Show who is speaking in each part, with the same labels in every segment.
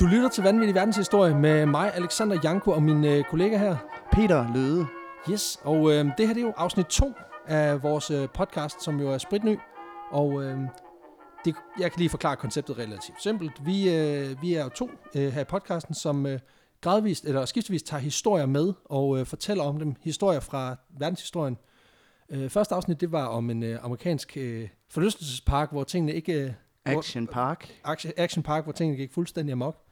Speaker 1: Du lytter til Vanvittig Verdenshistorie med mig, Alexander Janko, og min øh, kollega her.
Speaker 2: Peter Løde.
Speaker 1: Yes, og øh, det her det er jo afsnit 2 af vores øh, podcast, som jo er spritny. Og øh, det, jeg kan lige forklare konceptet relativt simpelt. Vi, øh, vi er jo to øh, her i podcasten, som øh, gradvist eller skiftevis tager historier med og øh, fortæller om dem. Historier fra verdenshistorien. Øh, første afsnit, det var om en øh, amerikansk øh, forlystelsespark, hvor tingene ikke... Øh, hvor-
Speaker 2: Action Park.
Speaker 1: Action- Action Park, hvor tingene gik fuldstændig amok,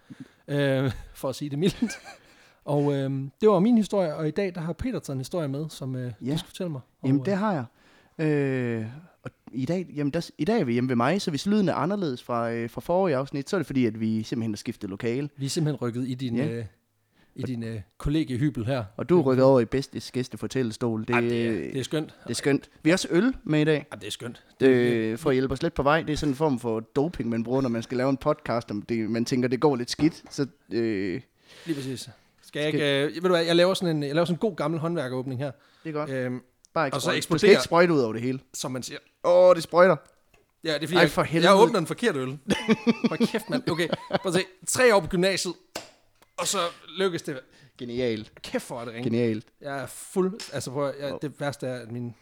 Speaker 1: øh, for at sige det mildt. og øh, det var min historie, og i dag der har Peter taget en historie med, som øh,
Speaker 2: Ja.
Speaker 1: du skal fortælle mig. Og,
Speaker 2: Jamen, det
Speaker 1: øh,
Speaker 2: har jeg. Øh, og i dag, jamen, der, i dag er vi hjemme ved mig, så hvis lyden er anderledes fra, øh, fra forrige afsnit, så er det fordi, at vi simpelthen har skiftet lokale.
Speaker 1: vi er simpelthen rykket i din,
Speaker 2: Ja.
Speaker 1: øh, i din øh, kollegiehybel her.
Speaker 2: Og du er rykket over i bedstes gæstefortællestol. Det,
Speaker 1: Mhm. Ej,
Speaker 2: Ej,
Speaker 1: det, er,
Speaker 2: det,
Speaker 1: det er skønt.
Speaker 2: det er skønt. Vi har også øl med i dag,
Speaker 1: Ej, det er skønt.
Speaker 2: øh, for at hjælpe os lidt på vej. Det er sådan en form for doping, man bruger, når man skal lave en podcast, om det, man tænker, det går lidt skidt. Så øh,
Speaker 1: Lige præcis. Skal jeg ikke... Øh, ved du hvad, jeg laver sådan en, jeg laver sådan en god gammel håndværkeråbning her,
Speaker 2: det er godt.
Speaker 1: øh,
Speaker 2: Bare ikke
Speaker 1: og så
Speaker 2: sprøjte. Du skal
Speaker 1: eksploderer-
Speaker 2: ikke sprøjte ud over det hele.
Speaker 1: som man siger.
Speaker 2: Åh, oh, det sprøjter.
Speaker 1: Ja, det er fordi,
Speaker 2: Ej,
Speaker 1: jeg,
Speaker 2: for helvede.
Speaker 1: jeg åbner en forkert øl. Hvor kæft, mand. Okay, prøv at se. Tre år på gymnasiet, og så lykkes det.
Speaker 2: Genialt.
Speaker 1: Kæft, hvor er det ringe.
Speaker 2: Genialt.
Speaker 1: Jeg er fuld... Altså prøv, at- jeg, det værste er, at min,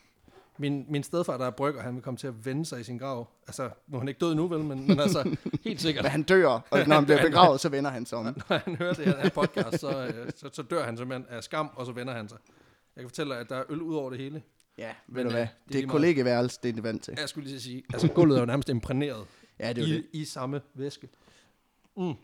Speaker 1: min, min stedfar, der er brygger, han vil komme til at vende sig i sin grav. Altså, nu er han ikke død nu, vel? Men, men altså, helt sikkert.
Speaker 2: Men han dør, og når han bliver begravet, så vender han sig om.
Speaker 1: Når han hører det her, den her podcast, så, øh, så, så dør han simpelthen af skam, og så vender han sig. Jeg kan fortælle dig, at der er øl ud over det hele.
Speaker 2: Ja, ved
Speaker 1: Men,
Speaker 2: du
Speaker 1: øh,
Speaker 2: hvad?
Speaker 1: det er
Speaker 2: Det
Speaker 1: lige
Speaker 2: er
Speaker 1: meget.
Speaker 2: kollegeværelse, det er det vant til.
Speaker 1: Jeg skulle lige til at sige, altså gulvet er jo nærmest imprægneret
Speaker 2: Ja, det er jo
Speaker 1: i,
Speaker 2: det.
Speaker 1: i samme væske.
Speaker 2: Det-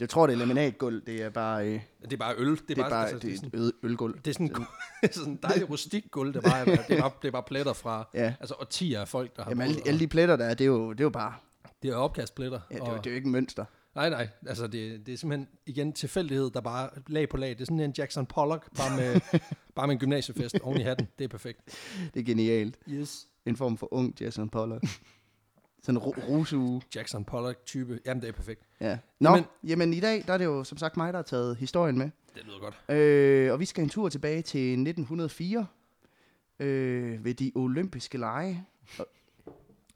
Speaker 2: Jeg tror, det er laminatgulv. Det er bare, øh, det
Speaker 1: Det er bare øl. Det er,
Speaker 2: er bare
Speaker 1: altså, det er
Speaker 2: det er
Speaker 1: sådan,
Speaker 2: et øde ølgulv.
Speaker 1: det er sådan, det er sådan en dejlig rustik gulv, det er bare, det er bare, det er bare pletter fra
Speaker 2: Ja.
Speaker 1: altså, årtier af folk, der har
Speaker 2: Jamen, alle,
Speaker 1: boet,
Speaker 2: alle de pletter, der er, det er jo, det er jo bare...
Speaker 1: og det er opkastpletter.
Speaker 2: Ja, det, er,
Speaker 1: og-
Speaker 2: jo- det er jo ikke en mønster.
Speaker 1: Nej, nej. Altså, det, det er simpelthen igen tilfældighed, der bare er lag på lag. Det er sådan en Jackson Pollock, bare med, bare med en gymnasiefest oven i hatten. Det er perfekt.
Speaker 2: Det er genialt.
Speaker 1: Yes.
Speaker 2: En form for ung Jason Pollock. Sådan en ro- rusuge.
Speaker 1: Jackson Pollock-type. Jamen, det er perfekt.
Speaker 2: Ja. Nå,
Speaker 1: Jamen-
Speaker 2: jamen, jamen i dag, der er det jo som sagt mig, der har taget historien med.
Speaker 1: Det lyder godt.
Speaker 2: Øh, og vi skal en tur tilbage til 1904 øh, ved de olympiske lege.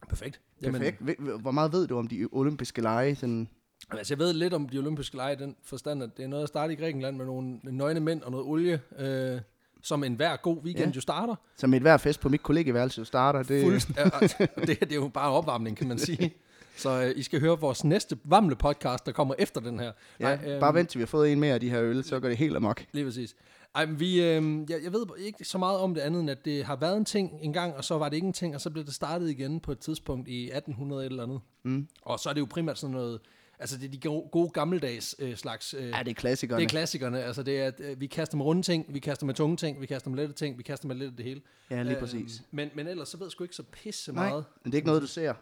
Speaker 1: Perfekt.
Speaker 2: Perfekt. Ved- ved- Hvor meget ved du om de olympiske lege? Sådan,
Speaker 1: Jamen, altså, jeg ved lidt om de olympiske lege i den forstand, at det er noget, der starter i Grækenland med nogle nøgne mænd og noget olie, øh, som enhver god weekend ja.
Speaker 2: Ja.
Speaker 1: jo starter.
Speaker 2: som et hver fest på mit kollegeværelse starter. Det,
Speaker 1: Fuldst- det, det er jo bare opvarmning, kan man sige. Så øh, I skal høre vores næste varmle podcast, der kommer efter den her.
Speaker 2: Ja,
Speaker 1: Nej, øhm,
Speaker 2: bare vent til vi har fået en mere af de her øl, så går det helt amok.
Speaker 1: Lige præcis. Ej, men vi, øh, jeg, jeg ved ikke så meget om det andet, end at det har været en ting engang, og så var det ikke en ting, og så blev det startet igen på et tidspunkt i 1800 eller andet. Mm. Og så er det jo primært sådan noget, altså det er de gode, gode gammeldags øh, slags... Øh,
Speaker 2: Ja, det er klassikerne.
Speaker 1: det er klassikerne, altså det er, at øh, vi kaster med runde ting, vi kaster med tunge ting, vi kaster med lette ting, vi kaster med lidt af det hele. Øhm,
Speaker 2: Ja, lige præcis.
Speaker 1: men, men ellers så ved jeg sgu ikke så pisse
Speaker 2: Nej,
Speaker 1: meget.
Speaker 2: men det er ikke noget, du ser.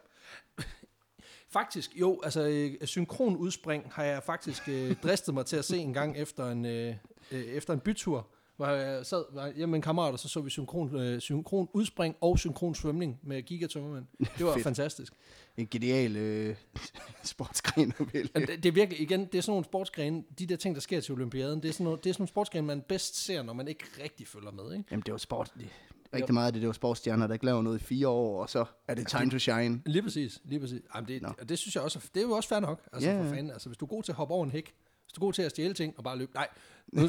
Speaker 1: Faktisk, jo, altså øh, synkronudspring har jeg faktisk øh, dristet mig til at se en gang efter en, øh, øh, efter en bytur, hvor jeg sad var hjemme med en kammerat, og så så vi synkron, øh, synkron udspring og synkron svømning med gigatømmermænd. Det var
Speaker 2: Fedt.
Speaker 1: fantastisk.
Speaker 2: En genial øh, sportsgren at
Speaker 1: Altså,
Speaker 2: vælge.
Speaker 1: det, det er virkelig, igen, det er sådan nogle sportsgrene, de der ting, der sker til olympiaden, det er sådan nogle, det er sådan nogle sportsgrene, man bedst ser, når man ikke rigtig følger med, ikke?
Speaker 2: Jamen, det var sport. Det, rigtig meget af det, det var sportsstjerner, der ikke laver noget i fire år, og så er det time to shine.
Speaker 1: Lige præcis, lige præcis. Jamen, det,
Speaker 2: Nå.
Speaker 1: og det synes jeg også, er- det er jo også fair nok. Altså,
Speaker 2: Ja,
Speaker 1: yeah. for
Speaker 2: ja.
Speaker 1: fanden, altså, hvis du er god til at hoppe over en hæk, hvis du er god til at stjæle ting og bare løbe, nej. Nu...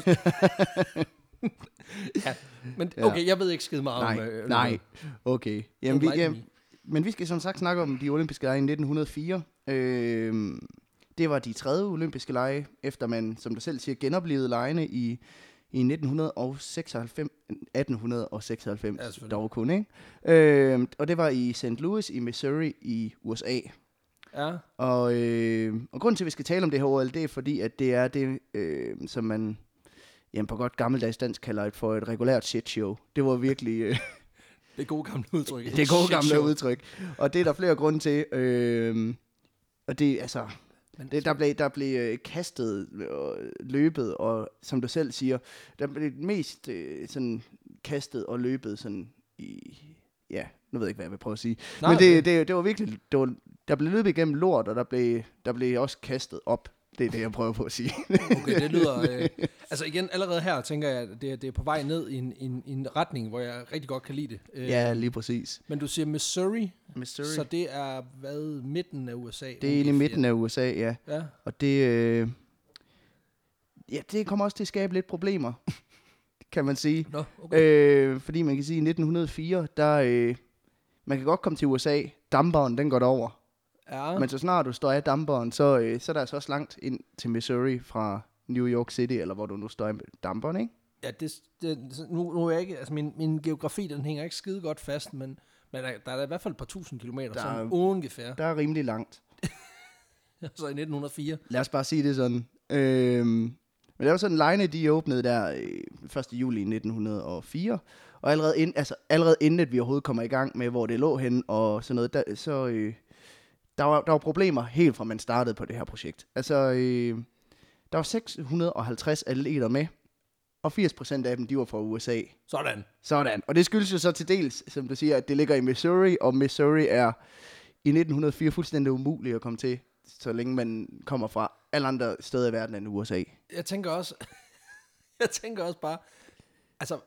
Speaker 1: ja, men
Speaker 2: Ja.
Speaker 1: okay, jeg ved ikke skide meget om... øh,
Speaker 2: Nej, nej. Okay. Jamen, vi,
Speaker 1: Enlighten
Speaker 2: jamen, men vi skal som sagt snakke om de olympiske lege i 1904. Øh, det var de tredje olympiske lege, efter man, som du selv siger, genoplevede legene i, i 1996, 1896
Speaker 1: Ja,
Speaker 2: ja,
Speaker 1: selvfølgelig.
Speaker 2: dog kun, ikke? Øh, og det var i St. Louis i Missouri i USA.
Speaker 1: Ja,
Speaker 2: Og, øh, og grunden til, at vi skal tale om det her OL, det er fordi, at det er det, øh, som man jamen, på godt gammeldags dansk kalder et, for et regulært shit show. Det var virkelig... Øh,
Speaker 1: det er gode gamle udtryk.
Speaker 2: det er gode
Speaker 1: Shit
Speaker 2: gamle
Speaker 1: show.
Speaker 2: udtryk. Og det er der flere grunde til. Øh, og det, altså,
Speaker 1: Men,
Speaker 2: det, der blev, der blev øh, kastet og løbet, og som du selv siger, der blev mest øh, sådan kastet og løbet sådan i... Ja, nu ved jeg ikke, hvad jeg vil prøve at sige.
Speaker 1: Nej,
Speaker 2: Nej, Men det, det, det var virkelig... Det var, der blev løbet igennem lort, og der blev, der blev også kastet op. Det er det, jeg prøver på at sige.
Speaker 1: Okay, det lyder... Øh, altså igen, allerede her tænker jeg, at det, er- det er på vej ned i en, en, en retning, hvor jeg rigtig godt kan lide det. Øh,
Speaker 2: ja, lige præcis.
Speaker 1: Men du siger Missouri,
Speaker 2: Missouri.
Speaker 1: så det er hvad? Midten af USA?
Speaker 2: det er inde i midten af USA, ja.
Speaker 1: Ja,
Speaker 2: Og det, øh, ja, det kommer også til at skabe lidt problemer, kan man sige.
Speaker 1: Nå, okay.
Speaker 2: Øh, fordi man kan sige, at i 1904, der, øh, man kan godt komme til USA, damperen den går derover.
Speaker 1: Ja.
Speaker 2: Men så snart du står af damperen, så, øh, så er der altså også langt ind til Missouri fra New York City, eller hvor du nu står af damperen, ikke?
Speaker 1: Ja, det, det, så nu, nu er jeg ikke, altså min, min geografi, den hænger ikke skide godt fast, men, men der, der er da i hvert fald et par tusind kilometer,
Speaker 2: Der
Speaker 1: der,
Speaker 2: er-
Speaker 1: sådan ungefær,
Speaker 2: Der er rimelig langt.
Speaker 1: så i 1904.
Speaker 2: Lad os bare sige det sådan. Øh, men det var sådan, Line, de åbnede der øh, 1. juli 1904, og allerede, ind, altså, allerede inden, at vi overhovedet kommer i gang med, hvor det lå hen og sådan noget, der, så øh, der, var, der var problemer helt fra man startede på det her projekt. Altså, øh, der var 650 atleter med, og 80% af dem, de var fra USA.
Speaker 1: Sådan.
Speaker 2: Sådan. Og det skyldes jo så til dels, som du siger, at det ligger i Missouri, og Missouri er i 1904 fuldstændig umuligt at komme til, så længe man kommer fra alle andre steder i verden end USA.
Speaker 1: Jeg tænker også, jeg tænker også bare, altså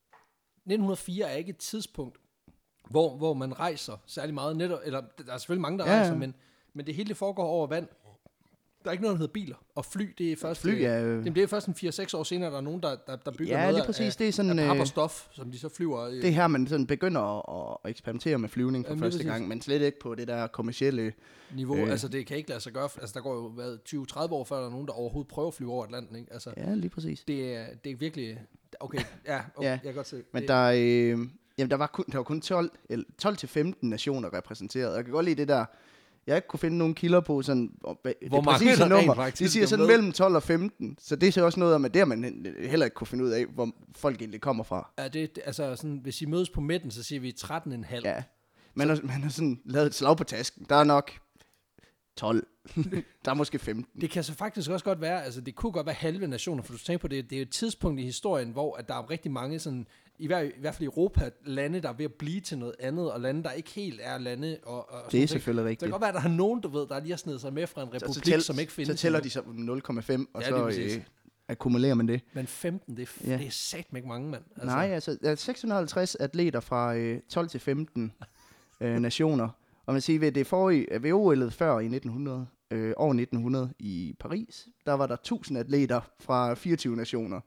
Speaker 1: 1904 er ikke et tidspunkt, hvor, hvor man rejser særlig meget netop, eller der er selvfølgelig mange, der
Speaker 2: Ja, ja.
Speaker 1: rejser, men, men det hele det foregår over vand. Der er ikke noget, der hedder biler, og fly, det er først, øh,
Speaker 2: Fly er
Speaker 1: det, det er først en 4-6 år senere, der er nogen, der, der, der bygger
Speaker 2: Ja,
Speaker 1: noget
Speaker 2: lige præcis.
Speaker 1: af,
Speaker 2: Det er sådan...
Speaker 1: af pap
Speaker 2: øh,
Speaker 1: og stof, som de så flyver. øh,
Speaker 2: Det er her, man sådan begynder at, at eksperimentere med flyvning for
Speaker 1: Jamen, lige
Speaker 2: første
Speaker 1: præcis.
Speaker 2: gang, men slet ikke på det der kommercielle...
Speaker 1: niveau.
Speaker 2: Øh.
Speaker 1: Øh. Altså, det kan ikke lade sig gøre. Altså, der går jo hvad, 20-30 år, før der er nogen, der overhovedet prøver at flyve over Atlanten, ikke? Altså,
Speaker 2: Ja, lige præcis.
Speaker 1: det er, det er virkelig... Okay, ja, okay, ja.
Speaker 2: Ja,
Speaker 1: jeg kan godt se.
Speaker 2: Men
Speaker 1: det,
Speaker 2: der, øh, jamen, der, var kun, der var kun 12, eller 12 til 15 nationer repræsenteret. Jeg kan godt lide det der, jeg ikke kunne finde nogen kilder på, sådan, og hvad- det
Speaker 1: Hvor mange
Speaker 2: præcise
Speaker 1: der rent
Speaker 2: nummer.
Speaker 1: faktisk Ligesom
Speaker 2: de siger
Speaker 1: er
Speaker 2: sådan
Speaker 1: med.
Speaker 2: mellem 12 og 15, så det siger også noget om, at der man heller ikke kunne finde ud af, hvor folk egentlig kommer fra.
Speaker 1: er det, det- altså, sådan, hvis I mødes på midten, så siger vi 13,5. Ja.
Speaker 2: Ja. Man, har, man har sådan lavet et slag på tasken. Der er nok 12. der er måske 15.
Speaker 1: Det kan så faktisk også godt være, altså det kunne godt være halve nationer, for du tænker på det, det er jo et tidspunkt i historien, hvor at der er rigtig mange sådan, i, hver, i hvert fald i Europa, lande, der er ved at blive til noget andet, og lande, der ikke helt er lande. Og, og, og
Speaker 2: Det er
Speaker 1: sådan ting.
Speaker 2: selvfølgelig
Speaker 1: Så det kan
Speaker 2: rigtigt.
Speaker 1: godt være, at der er nogen, du ved, der lige har snedet sig med fra en republik, så,
Speaker 2: tæl-
Speaker 1: som ikke findes.
Speaker 2: så tæller
Speaker 1: endnu.
Speaker 2: de så 0,5, og
Speaker 1: Ja, lige
Speaker 2: så
Speaker 1: præcis.
Speaker 2: øh, akkumulerer man det.
Speaker 1: Men 15, det er, f-
Speaker 2: Ja.
Speaker 1: ja. det er satme ikke mange, mand.
Speaker 2: Altså. Nej, altså der er 650 atleter fra øh, 12 til 15 øh, nationer. Og man siger, ved det forrige, ved OL'et før i 1900, øh, år 1900 i Paris, der var der 1000 atleter fra 24 nationer.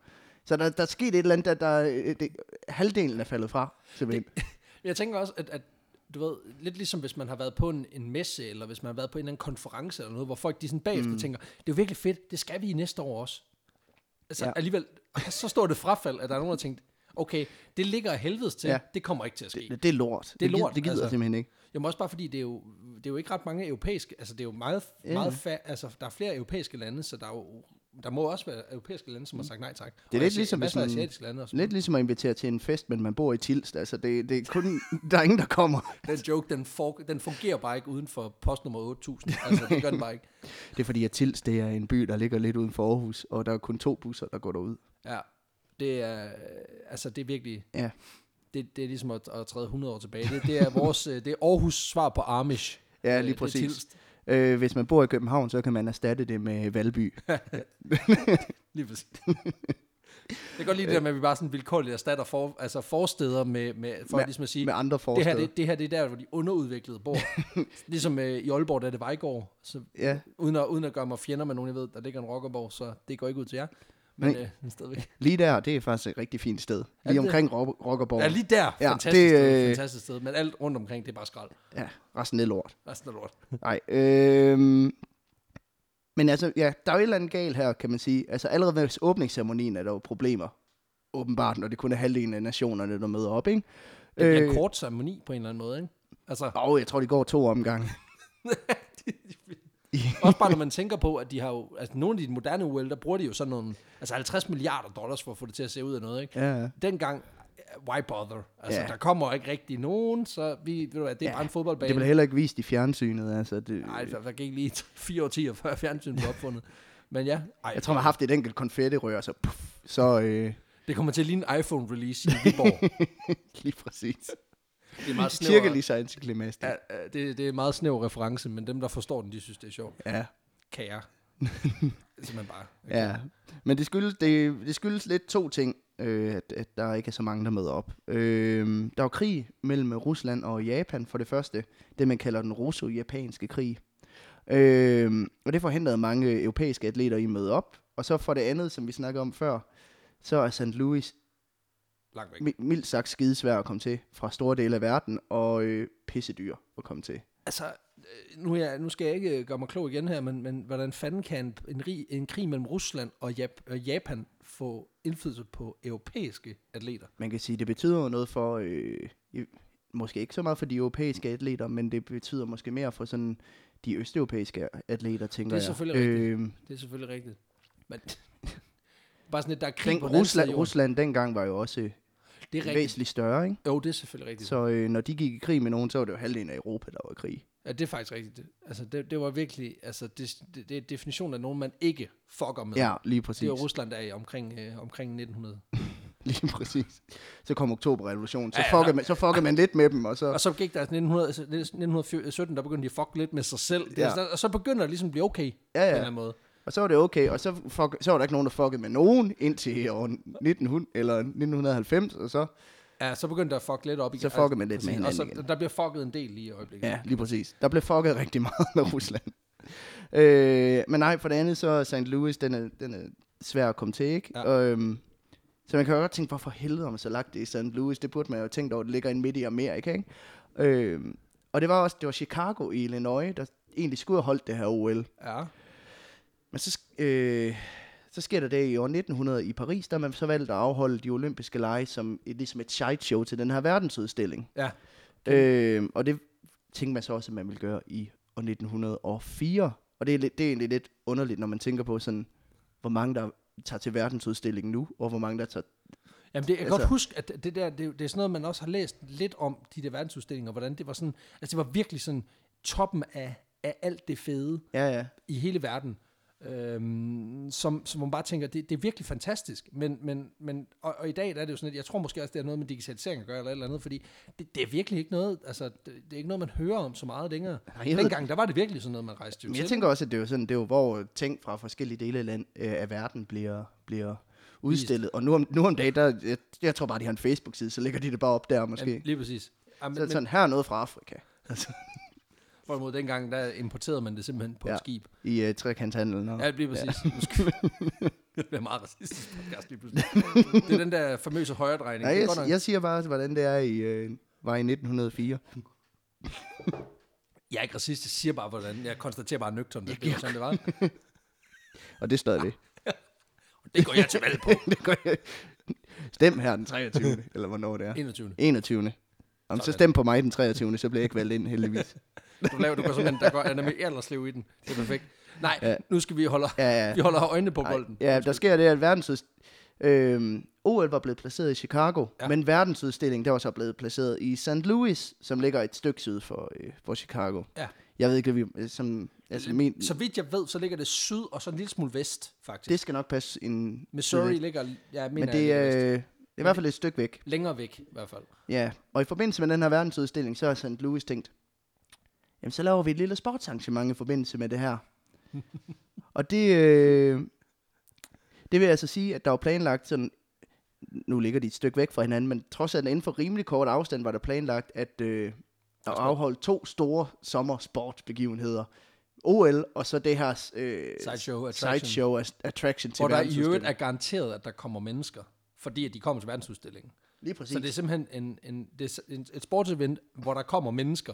Speaker 2: Så der, der skete et eller andet, der, der øh, det, halvdelen er faldet fra, simpelthen. Det,
Speaker 1: Jeg tænker også, at, at du ved, lidt ligesom hvis man har været på en, en messe, eller hvis man har været på en eller anden konference eller noget, hvor folk de sådan bagefter mm. tænker, det er jo virkelig fedt, det skal vi i næste år også. Altså
Speaker 2: Ja.
Speaker 1: ja. alligevel, så står det frafald, at der er nogen, der har tænkt, okay, det ligger af helvedes til,
Speaker 2: Ja.
Speaker 1: ja. det kommer ikke til at ske.
Speaker 2: det, det er lort.
Speaker 1: Det er
Speaker 2: gid-
Speaker 1: lort,
Speaker 2: Det gider
Speaker 1: altså.
Speaker 2: altså. jeg simpelthen ikke.
Speaker 1: Jamen også bare fordi, det er jo, det er jo ikke ret mange europæiske, altså det er jo meget,
Speaker 2: Ja.
Speaker 1: meget fa- altså der er flere europæiske lande, så der er jo, der må også være europæiske lande, som har sagt nej tak. Det
Speaker 2: Mm. lidt ligesom, hvis
Speaker 1: masser af
Speaker 2: man-
Speaker 1: asiatiske lande også.
Speaker 2: Lidt ligesom at invitere til en fest, men man bor i Tilst. Altså, det, det er kun, der er ingen, der kommer.
Speaker 1: Den joke, den, for, den fungerer bare ikke uden for postnummer 8000. Altså, det gør den bare ikke.
Speaker 2: Det er fordi, at Tilst det er en by, der ligger lidt uden for Aarhus, og der er kun to busser, der går derud.
Speaker 1: Ja, det er, altså det er virkelig,
Speaker 2: Ja.
Speaker 1: det, det er ligesom at, at træde 100 år tilbage. Det, det er vores, øh, det er Aarhus svar på Amish.
Speaker 2: Ja,
Speaker 1: Øh,
Speaker 2: lige
Speaker 1: det er
Speaker 2: præcis.
Speaker 1: Tilst.
Speaker 2: Øh, hvis man bor i København, så kan man erstatte det med Valby.
Speaker 1: Lige præcis. Jeg kan godt lide det der med, at vi bare sådan vilkårligt erstatter for, altså forsteder med, med for
Speaker 2: Med-
Speaker 1: med, ligesom at sige,
Speaker 2: med andre
Speaker 1: det
Speaker 2: forsteder.
Speaker 1: her, det, det her det er der, hvor de underudviklede bor. ligesom øh, i Aalborg, der er det Vejgaard. Så,
Speaker 2: Ja,
Speaker 1: uden, at, uden at gøre mig fjender med nogen, jeg ved, der ligger en rockerborg, så det går ikke ud til jer. Men
Speaker 2: Nej.
Speaker 1: øh, stadigvæk.
Speaker 2: lige der, det er faktisk et rigtig fint sted.
Speaker 1: Ja,
Speaker 2: Lige
Speaker 1: det-
Speaker 2: omkring Rock- Rockerborg.
Speaker 1: Ja, lige der.
Speaker 2: Ja,
Speaker 1: fantastisk,
Speaker 2: det,
Speaker 1: det, sted,
Speaker 2: øh,
Speaker 1: fantastisk sted. Men alt rundt omkring, det er bare skrald.
Speaker 2: ja resten er lort.
Speaker 1: Resten er lort.
Speaker 2: Nej, øhm, men altså, ja, der er jo et eller andet galt her, kan man sige. Altså, allerede ved åbningsceremonien er der jo problemer. Åbenbart, når det kun er halvdelen af nationerne, der møder op, ikke? Øh,
Speaker 1: Det bliver en kort ceremoni på en eller anden måde, ikke? Altså,
Speaker 2: Og jeg tror, det går to omgange.
Speaker 1: også bare når man tænker på, at de har jo, altså nogle af de moderne OL, der bruger de jo sådan nogle, altså 50 milliarder dollars for at få det til at se ud af noget, ikke?
Speaker 2: Ja, ja.
Speaker 1: Dengang, why bother? Altså,
Speaker 2: Ja.
Speaker 1: der kommer ikke rigtig nogen, så vi, ved du hvad, det er
Speaker 2: Ja,
Speaker 1: bare en fodboldbane.
Speaker 2: Det bliver heller ikke vist i fjernsynet, altså. Det,
Speaker 1: Nej, der, der gik lige fire årtier før fjernsyn blev opfundet. Men ja, ej,
Speaker 2: jeg tror, man har haft et enkelt konfettirør, så... Puff, så øh,
Speaker 1: det kommer til at ligne en iPhone-release i Viborg.
Speaker 2: lige præcis.
Speaker 1: Det er meget snæver,
Speaker 2: Cirkelig sig antiklimast.
Speaker 1: ja, ja, det, det er en meget snæver reference, men dem, der forstår den, de synes, det er sjovt.
Speaker 2: ja.
Speaker 1: Kære. Simpelthen bare.
Speaker 2: Ja, men det skyldes, det, det skyldes lidt to ting, øh, at, at der ikke er så mange, der møder op. Øh, der var krig mellem Rusland og Japan for det første, det man kalder den Øhm, russo-japanske krig. Øh, og det forhindrede mange europæiske atleter i at møde op, Og så for det andet, som vi snakkede om før, så er St. Louis
Speaker 1: Langt væk.
Speaker 2: mi- mildt sagt skidesvær at komme til fra store dele af verden, og øh, pissedyr at komme til.
Speaker 1: Altså, øh, nu, er jeg, nu skal jeg ikke øh, gøre mig klog igen her, men, men hvordan fanden kan en, en, rig, en krig mellem Rusland og Jap- og Japan få indflydelse på europæiske atleter?
Speaker 2: Man kan sige, det betyder jo noget for, øh, i- måske ikke så meget for de europæiske atleter, men det betyder måske mere for sådan de østeuropæiske atleter, tænker
Speaker 1: Det er
Speaker 2: jeg.
Speaker 1: selvfølgelig rigtigt.
Speaker 2: Øhm,
Speaker 1: Det er selvfølgelig rigtigt. Men bare sådan lidt, der er krig
Speaker 2: Den,
Speaker 1: på den anden side af
Speaker 2: Rusland,
Speaker 1: jorden.
Speaker 2: Rusland dengang var jo også øh,
Speaker 1: Det er rigtigt.
Speaker 2: væsentligt større, ikke?
Speaker 1: Jo, det er selvfølgelig rigtigt. Så.
Speaker 2: Så øh, når de gik i krig med nogen, så var det jo halvdelen af Europa, der var i krig.
Speaker 1: Ja, det er faktisk rigtigt. Altså, det, det var virkelig, altså, det, det, det er definitionen af nogen, man ikke fucker med.
Speaker 2: Ja, lige
Speaker 1: det
Speaker 2: præcis.
Speaker 1: er Rusland, der er i omkring, øh, omkring 1900.
Speaker 2: Lige præcis. Så kom oktoberrevolutionen, så,
Speaker 1: Ja, ja,
Speaker 2: fucker man, så fucker man lidt med dem, og så...
Speaker 1: Og så gik der 1900, altså, 1917, der begyndte de at fuck lidt med sig selv. Det,
Speaker 2: Ja.
Speaker 1: ja. altså, og så begynder det ligesom at blive okay,
Speaker 2: Ja,
Speaker 1: på en
Speaker 2: ja.
Speaker 1: eller anden måde.
Speaker 2: Og så var det okay, og så, fuck, så var der ikke nogen, der fuckede med nogen indtil år 1900, eller 1990, og så...
Speaker 1: Ja, så begyndte der at fuck lidt op igen.
Speaker 2: Så fucker man lidt med
Speaker 1: Præcis.
Speaker 2: hinanden
Speaker 1: Og så, der bliver fucket en del lige i øjeblikket.
Speaker 2: Ja, lige præcis. Der blev fucket rigtig meget med Rusland. Øh, men nej, for det andet, så er St. Louis, den er, den er svær at komme til, ikke?
Speaker 1: Ja.
Speaker 2: Og, øhm, så man kan jo godt tænke, hvorfor helvede har man så lagt det i St. Louis? Det burde man jo have tænkt over, det ligger inde midt i Amerika, ikke? Øh, og det var også, det var Chicago i Illinois, der egentlig skulle have holdt det her OL.
Speaker 1: ja.
Speaker 2: Men så, sk- øh, så sker der det i år 1900 i Paris, der har man så valgt at afholde de olympiske lege som et, ligesom et sideshow til den her verdensudstilling.
Speaker 1: Ja.
Speaker 2: Øh, og det tænkte man så også, at man ville gøre i år 1904. Og det er, lidt, det er egentlig lidt underligt, når man tænker på sådan, hvor mange der tager til verdensudstillingen nu, og hvor mange der tager...
Speaker 1: Jamen, det, jeg kan
Speaker 2: Altså-
Speaker 1: altså, godt huske, at det der, det, det er sådan noget, man også har læst lidt om, de der verdensudstillinger, hvordan det var sådan, altså det var virkelig sådan toppen af, af alt det fede
Speaker 2: Ja, ja.
Speaker 1: i hele verden, øhm, som, som man bare tænker, det, det er virkelig fantastisk, men, men, men og, og i dag der er det jo sådan, at jeg tror måske også, det har noget med digitalisering at gøre, eller et eller andet, fordi det, det er virkelig ikke noget, altså det, det er ikke noget, man hører om så meget længere.
Speaker 2: jeg ved-
Speaker 1: Dengang, der var det virkelig sådan noget, man rejste jo
Speaker 2: Men jeg
Speaker 1: til.
Speaker 2: tænker også, at det er jo sådan, det er jo, hvor ting fra forskellige dele af, land, øh, af verden bliver, bliver udstillet. Og nu om, nu om dagen, der, jeg, jeg tror bare, de har en Facebook-side, så lægger de det bare op der måske.
Speaker 1: Jamen, lige præcis. Jamen,
Speaker 2: Så er det sådan, her er noget fra Afrika. Altså,
Speaker 1: Hvorimod dengang, der importerede man det simpelthen på ja.
Speaker 2: Ja.
Speaker 1: et skib.
Speaker 2: I uh, trekanthandlen. Og...
Speaker 1: Ja, det bliver præcis. Ja. Nu skal vi... det bliver meget racistisk podcast lige pludselig. det er den der famøse højredrejning.
Speaker 2: Nej,
Speaker 1: det er
Speaker 2: jeg,
Speaker 1: godt nok...
Speaker 2: jeg siger bare, hvordan det er i, uh, var i 1904.
Speaker 1: jeg er ikke racist, jeg siger bare, hvordan. Jeg konstaterer bare nøgternt, at det var sådan, det var.
Speaker 2: Og det står ved.
Speaker 1: Det går jeg til valg på.
Speaker 2: det gør jeg. Stem her den 23. eller hvornår det er.
Speaker 1: 21.
Speaker 2: 21. Om, så stem på mig den 23. så bliver jeg ikke valgt ind, heldigvis.
Speaker 1: Du, laver, du går simpelthen, der går Anna med alderslev i den. Det er perfekt. Nej, ja. nu skal vi holde,
Speaker 2: Ja, ja.
Speaker 1: vi holder øjnene på
Speaker 2: Nej.
Speaker 1: bolden.
Speaker 2: Ja, der sker det, at verdens... Øhm, OL var blevet placeret i Chicago, ja. men verdensudstillingen der var så blevet placeret i St. Louis, som ligger et stykke syd for, øh, for Chicago.
Speaker 1: Ja.
Speaker 2: Jeg ved ikke, hvad vi... Som, altså, min,
Speaker 1: Så vidt jeg ved, så ligger det syd og så en lille smule vest, faktisk. Det,
Speaker 2: det skal nok passe en...
Speaker 1: Missouri ligger, ja, jeg mener,
Speaker 2: Men
Speaker 1: jeg
Speaker 2: det
Speaker 1: ligger
Speaker 2: er, øh,
Speaker 1: vest.
Speaker 2: det er i hvert fald et stykke væk.
Speaker 1: længere væk, i hvert fald.
Speaker 2: Ja, og i forbindelse med den her verdensudstilling, så har St. Louis tænkt, jamen så laver vi et lille sportsarrangement i forbindelse med det her. og det, øh, det vil altså sige, at der var planlagt sådan, nu ligger de et stykke væk fra hinanden, men trods alt inden for rimelig kort afstand var der planlagt, at øh, at afholde to store sommersportsbegivenheder. OL, og så det her øh,
Speaker 1: Sideshow attraction.
Speaker 2: sideshow at- attraction til
Speaker 1: Hvor der i øvrigt
Speaker 2: verdensudstillingen.
Speaker 1: er garanteret, at der kommer mennesker, fordi at de kommer til verdensudstillingen.
Speaker 2: Lige præcis.
Speaker 1: Så det er simpelthen en, en, det er s- en, et sportsevent, hvor der kommer mennesker.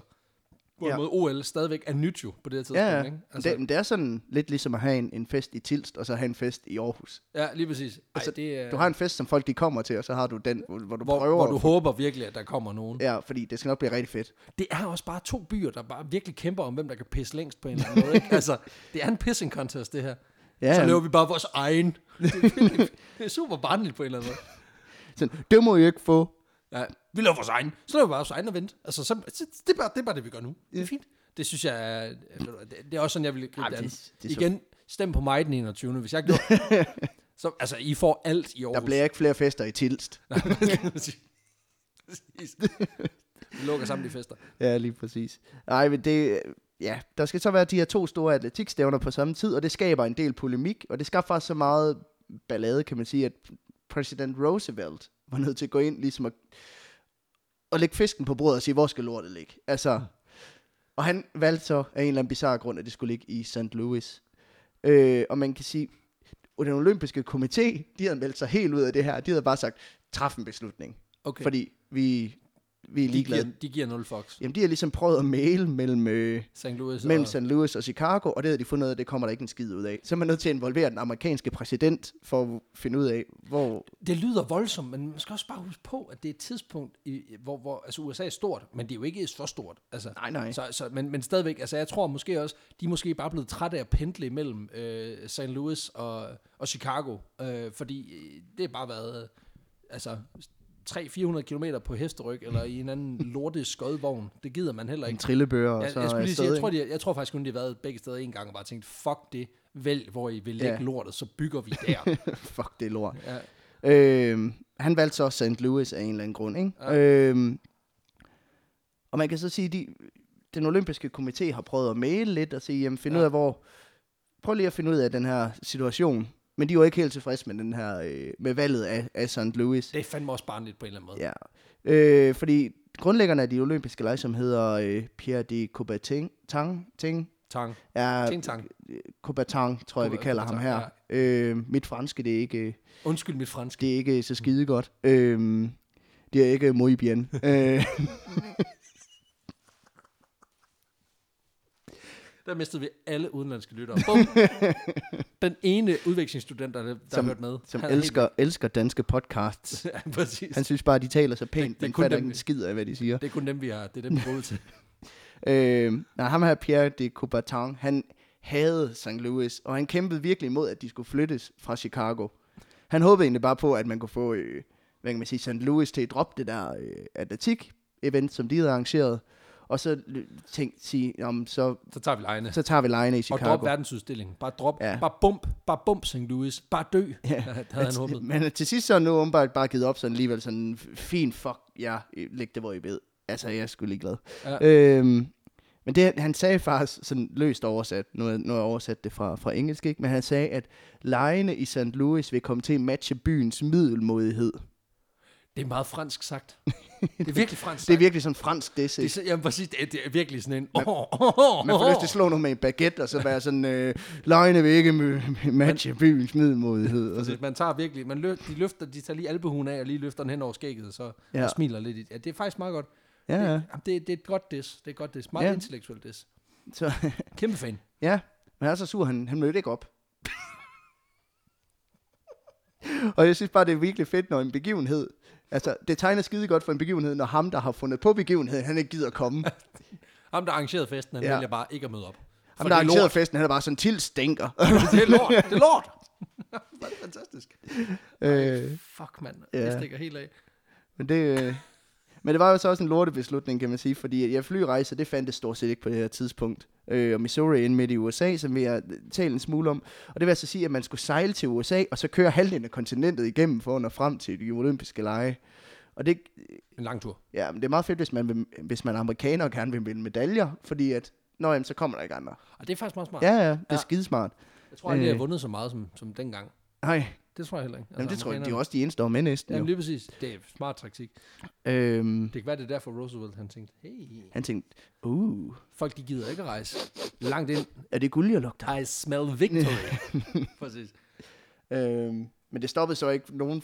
Speaker 1: Hvorimod OL stadigvæk er nyt jo på det her tidspunkt.
Speaker 2: Ja, ja.
Speaker 1: Ikke?
Speaker 2: Altså, det, men det er sådan lidt ligesom at have en, en fest i Tilst, og så have en fest i Aarhus.
Speaker 1: ja lige præcis. Ej,
Speaker 2: Altså,
Speaker 1: det er,
Speaker 2: Du har en fest, som folk de kommer til, og så har du den, hvor, hvor du
Speaker 1: hvor,
Speaker 2: prøver.
Speaker 1: hvor du håber virkelig, at der kommer nogen. Ja.
Speaker 2: Ja, fordi det skal nok blive rigtig fedt.
Speaker 1: Det er også bare to byer, der bare virkelig kæmper om, hvem der kan pisse længst på en eller anden måde. Ikke? Altså, det er en pissing contest, det her.
Speaker 2: Ja,
Speaker 1: Ja, så
Speaker 2: ja.
Speaker 1: laver vi bare vores egen. Det er, virkelig, det er super barnligt på en eller anden måde.
Speaker 2: Sådan, det må I ikke få.
Speaker 1: Ja, vi laver vores egen. Så laver vi bare vores egen og vente. Altså, så, så- det, er bare, det er bare det, vi gør nu. Det er fint. Det synes jeg er, ved du hvad, det, det er også sådan, jeg ville gribe
Speaker 2: Ej,
Speaker 1: det,
Speaker 2: det-
Speaker 1: an.
Speaker 2: det er så-
Speaker 1: Igen, stem på mig den 21. Hvis jeg gjorde så, altså, I får alt i Aarhus.
Speaker 2: Der bliver ikke flere fester i Tilst.
Speaker 1: Præcis. Præcis. Vi lukker sammen de fester.
Speaker 2: Ja, lige præcis. Nej, men det... Ja, der skal så være de her to store atletikstævner på samme tid, og det skaber en del polemik, og det skaber faktisk så meget ballade, kan man sige, at præsident Roosevelt var nødt til at gå ind ligesom at, at lægge fisken på bordet og sige, hvor skal lortet ligge? Altså, og han valgte så af en eller anden bizarre grund, at det skulle ligge i St. Louis. Øh, og man kan sige, Og den olympiske komité, de havde meldt sig helt ud af det her. De havde bare sagt, træf en beslutning.
Speaker 1: Okay.
Speaker 2: Fordi vi, vi er
Speaker 1: de, giver,
Speaker 2: ligeglade.
Speaker 1: de giver 0 fox.
Speaker 2: Jamen, de har ligesom prøvet at male mellem, øh,
Speaker 1: St. Louis
Speaker 2: mellem
Speaker 1: og...
Speaker 2: St. Louis og Chicago, og det havde de fundet ud af, det kommer der ikke en skid ud af. Så er man nødt til at involvere den amerikanske præsident for at finde ud af, hvor...
Speaker 1: Det lyder voldsomt, men man skal også bare huske på, at det er et tidspunkt, i, hvor, hvor altså USA er stort, men det er jo ikke så stort. Altså,
Speaker 2: Nej, nej.
Speaker 1: Så, så, men, men stadigvæk, altså jeg tror måske også, de er måske bare blevet trætte af at pendle imellem øh, St. Louis og, og Chicago, øh, fordi øh, det har bare været øh, altså 300-400 km på hesteryg, eller i en anden lorte skodvogn. Det gider man heller
Speaker 2: En
Speaker 1: ikke.
Speaker 2: trillebøger, og
Speaker 1: Jeg,
Speaker 2: så
Speaker 1: jeg, skulle lige sige, jeg,
Speaker 2: afsted,
Speaker 1: tror, de, jeg tror faktisk kun, de har været begge steder en gang og bare tænkt, fuck det, vælg hvor I vil lægge
Speaker 2: Ja.
Speaker 1: lortet, så bygger vi der.
Speaker 2: ikke? Fuck, det er lort.
Speaker 1: ja.
Speaker 2: Øhm, han valgte så St. Louis af en eller anden grund, ikke? Ja. Øhm, og man kan så sige, de, den olympiske komité har prøvet at male lidt og sige, jamen find ja.
Speaker 1: Ja.
Speaker 2: ud af, hvor... Prøv lige at finde ud af den her situation. Men de var ikke helt tilfredse med, den her, øh, med valget af, af St. Louis.
Speaker 1: Det er fandme også barnligt på en eller anden måde.
Speaker 2: Ja. Øh, fordi grundlæggerne af de olympiske lege, som hedder øh, Pierre de Coubertin, Tang, Ting,
Speaker 1: Tang.
Speaker 2: er
Speaker 1: Ting tang.
Speaker 2: Coubertin, tror jeg, vi
Speaker 1: Coubertin,
Speaker 2: kalder ham her. Ja. Øh, mit franske, det er ikke... Øh,
Speaker 1: Undskyld mit fransk.
Speaker 2: det er ikke så skide godt. Øhm, det er ikke muy bien. øh,
Speaker 1: Der mistede vi alle udenlandske lyttere. Bum. Den ene udvekslingsstudent, der, der
Speaker 2: Som-
Speaker 1: har hørt med.
Speaker 2: som
Speaker 1: han er
Speaker 2: elsker, elsker danske podcasts.
Speaker 1: Helt, ja, præcis.
Speaker 2: Han synes bare, de taler så pænt,
Speaker 1: det er
Speaker 2: men
Speaker 1: kun
Speaker 2: fatter
Speaker 1: dem,
Speaker 2: ikke en
Speaker 1: vi-
Speaker 2: skid af, hvad de siger.
Speaker 1: Det er kun dem, vi har. Det er dem, vi går ud til.
Speaker 2: Øhm, nej, ham her, Pierre de Coubertin, han havde St. Louis, og han kæmpede virkelig imod, at de skulle flyttes fra Chicago. Han håbede egentlig bare på, at man kunne få, øh, hvad kan man sige, St. Louis til at droppe det der øh, atletik-event, som de havde arrangeret, og så l- tænkte sige, jamen, så,
Speaker 1: Så tager vi lejene.
Speaker 2: så tager vi lejene i
Speaker 1: Og
Speaker 2: Chicago.
Speaker 1: drop verdensudstillingen. Bare drop.
Speaker 2: Ja.
Speaker 1: Ja. Bare bump. Bare bump, St. Louis. Bare dø. Ja. Det havde han
Speaker 2: Men-
Speaker 1: håbet.
Speaker 2: Men øh, til sidst så er han nu åbenbart bare givet op sådan alligevel sådan, fint fuck, ja, læg det hvor I ved. Altså, jeg er sgu ligeglad. Ja.
Speaker 1: Ja.
Speaker 2: Øhm, men det, han sagde faktisk sådan løst oversat, nu har nu har jeg oversat det fra, fra engelsk, ikke? men han sagde, at lejene i St. Louis vil komme til at matche byens middelmodighed.
Speaker 1: Det er meget fransk sagt. Det er virkelig fransk
Speaker 2: Det er
Speaker 1: sagt.
Speaker 2: virkelig sådan fransk disse.
Speaker 1: Det er, så- jamen, præcis, det, er, det er virkelig sådan en... Oh, oh,
Speaker 2: Man får lyst til at slå noget med en baguette, og så være sådan, øh, lejene vil ikke m- matche byens middelmodighed. Og så,
Speaker 1: Man tager virkelig, man løf, de løfter, de tager lige albehuen af og lige løfter den hen over skægget, så
Speaker 2: Ja.
Speaker 1: ja. og smiler lidt. i- Ja, det er faktisk meget godt.
Speaker 2: ja, ja.
Speaker 1: Det, jamen, det, det er et godt diss. Det er et godt diss. Meget
Speaker 2: Ja.
Speaker 1: ja. intellektuelt diss.
Speaker 2: Så,
Speaker 1: Kæmpe fan.
Speaker 2: Ja, men han er så sur, han, han mødte ikke op. og jeg synes bare, det er virkelig fedt, når en begivenhed... Altså, det tegner skide godt for en begivenhed, når ham, der har fundet på begivenheden, han ikke gider komme.
Speaker 1: Ham, der arrangerede festen, han
Speaker 2: Ja.
Speaker 1: ja. vælger bare ikke at møde op. For
Speaker 2: Ham,
Speaker 1: det er
Speaker 2: der arrangerede
Speaker 1: lort.
Speaker 2: festen, han er bare sådan til stinker.
Speaker 1: det er lort. Det er lort. Fantastisk.
Speaker 2: øh,
Speaker 1: Fuck, mand.
Speaker 2: Ja.
Speaker 1: Ja. Det stikker helt af.
Speaker 2: men det... Øh, men det var jo så også en lortebeslutning, kan man sige, fordi jeg flyrejser, det fandtes stort set ikke på det her tidspunkt. Øh, og Missouri ind midt i USA, som vi har talt en smule om. Og det vil altså sige, at man skulle sejle til USA, og så køre halvdelen af kontinentet igennem for at nå frem til de olympiske lege. Og det,
Speaker 1: En lang tur.
Speaker 2: Ja, men det er meget fedt, hvis man, vil, hvis man er amerikaner og gerne vil vinde medaljer, fordi at, nå jamen, så kommer der ikke andre.
Speaker 1: Og det er faktisk meget smart.
Speaker 2: Ja, ja, det er ja.
Speaker 1: Ja.
Speaker 2: skidesmart.
Speaker 1: Jeg tror aldrig,
Speaker 2: Øh.
Speaker 1: jeg har vundet så meget som, som dengang.
Speaker 2: Nej,
Speaker 1: Det tror jeg heller ikke.
Speaker 2: jamen, det tror jeg, de er
Speaker 1: Altså, amerikanerne-
Speaker 2: også de eneste, der var med næsten.
Speaker 1: Jamen
Speaker 2: Jo.
Speaker 1: lige præcis. Det er smart taktik.
Speaker 2: Øhm,
Speaker 1: Det kan være, det er derfor Roosevelt han tænkte, hey,
Speaker 2: han tænkte, uh,
Speaker 1: folk de gider ikke at rejse langt ind.
Speaker 2: er det guld, jeg lugter?
Speaker 1: I smell victory. præcis.
Speaker 2: Øhm, men det stoppede så ikke nogen...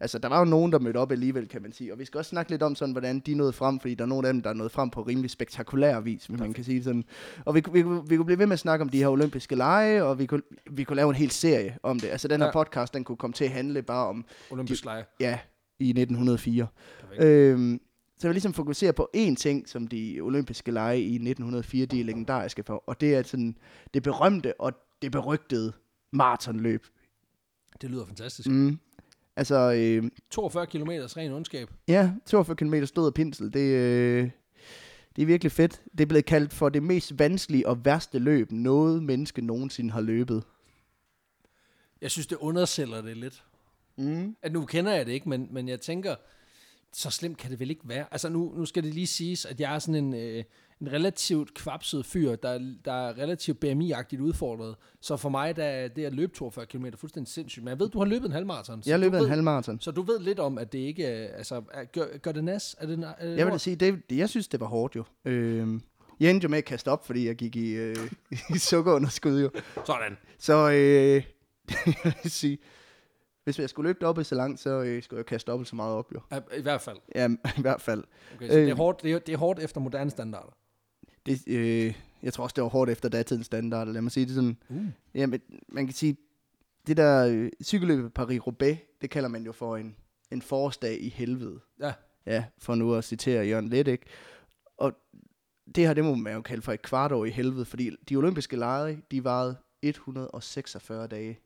Speaker 2: Altså, der var jo nogen, der mødte op alligevel, kan man sige. Og vi skal også snakke lidt om, sådan, hvordan de nåede frem, fordi der er nogle af dem, der er nået frem på rimelig spektakulær vis, hvis man kan sige det sådan. Og vi, kunne- vi, kunne- vi kunne blive ved med at snakke om de her olympiske lege, og vi kunne, vi kunne lave en hel serie om det. Altså, den her
Speaker 1: Ja.
Speaker 2: podcast, den kunne komme til at handle bare om
Speaker 1: Olympisk lejr.
Speaker 2: ja, i 1904.
Speaker 1: Perfekt.
Speaker 2: Øhm, så jeg vil ligesom fokusere på én ting, som de olympiske lege i 1904, de er legendariske for, og det er sådan det berømte og det berygtede maratonløb.
Speaker 1: Det lyder fantastisk.
Speaker 2: Mm. Altså, øh,
Speaker 1: 42 km ren ondskab.
Speaker 2: ja, 42 km stød og pinsel, det, øh, det er virkelig fedt. Det er blevet kaldt for det mest vanskelige og værste løb, noget menneske nogensinde har løbet.
Speaker 1: Jeg synes, det undersælger det lidt.
Speaker 2: Mm.
Speaker 1: At nu kender jeg det ikke, men, men jeg tænker, så slemt kan det vel ikke være. Altså nu, nu skal det lige siges, at jeg er sådan en, øh, en relativt kvapset fyr, der, der er relativt BMI-agtigt udfordret. Så for mig der er det at løbe 42 km fuldstændig sindssygt. Men jeg ved, du har løbet en halvmarathon. så
Speaker 2: Jeg
Speaker 1: du
Speaker 2: løb en
Speaker 1: ved-
Speaker 2: halvmaraton.
Speaker 1: Så du ved lidt om, at det ikke... øh, Altså, er, gør, gør det nas? Er det, na- er det
Speaker 2: Jeg vil da
Speaker 1: lort?
Speaker 2: sige, det, det, jeg synes, det var hårdt jo. Øhm, jeg endte jo med at kaste op, fordi jeg gik i, øh, i sukkerunderskud jo.
Speaker 1: Sådan.
Speaker 2: Så øh, jeg vil sige, hvis jeg skulle løbe dobbelt så langt, så øh, skulle jeg kaste dobbelt så meget op, jo.
Speaker 1: Ja, I hvert fald.
Speaker 2: Ja, i hvert fald.
Speaker 1: Okay, så øh. det, er
Speaker 2: Øh.
Speaker 1: hårdt, det, er, det er hårdt efter moderne standarder.
Speaker 2: Det, øh, jeg tror også, det var hårdt efter datidens standard. Lad mig sige det sådan.
Speaker 1: Uh.
Speaker 2: Ja, men man kan sige, det der øh, cykelløb i Paris-Roubaix, det kalder man jo for en, en forårsdag i helvede.
Speaker 1: Ja.
Speaker 2: Ja, for nu at citere Jørgen Let, ikke? Og det her, det må man jo kalde for et kvart år i helvede, fordi de olympiske lege, de varede 146 dage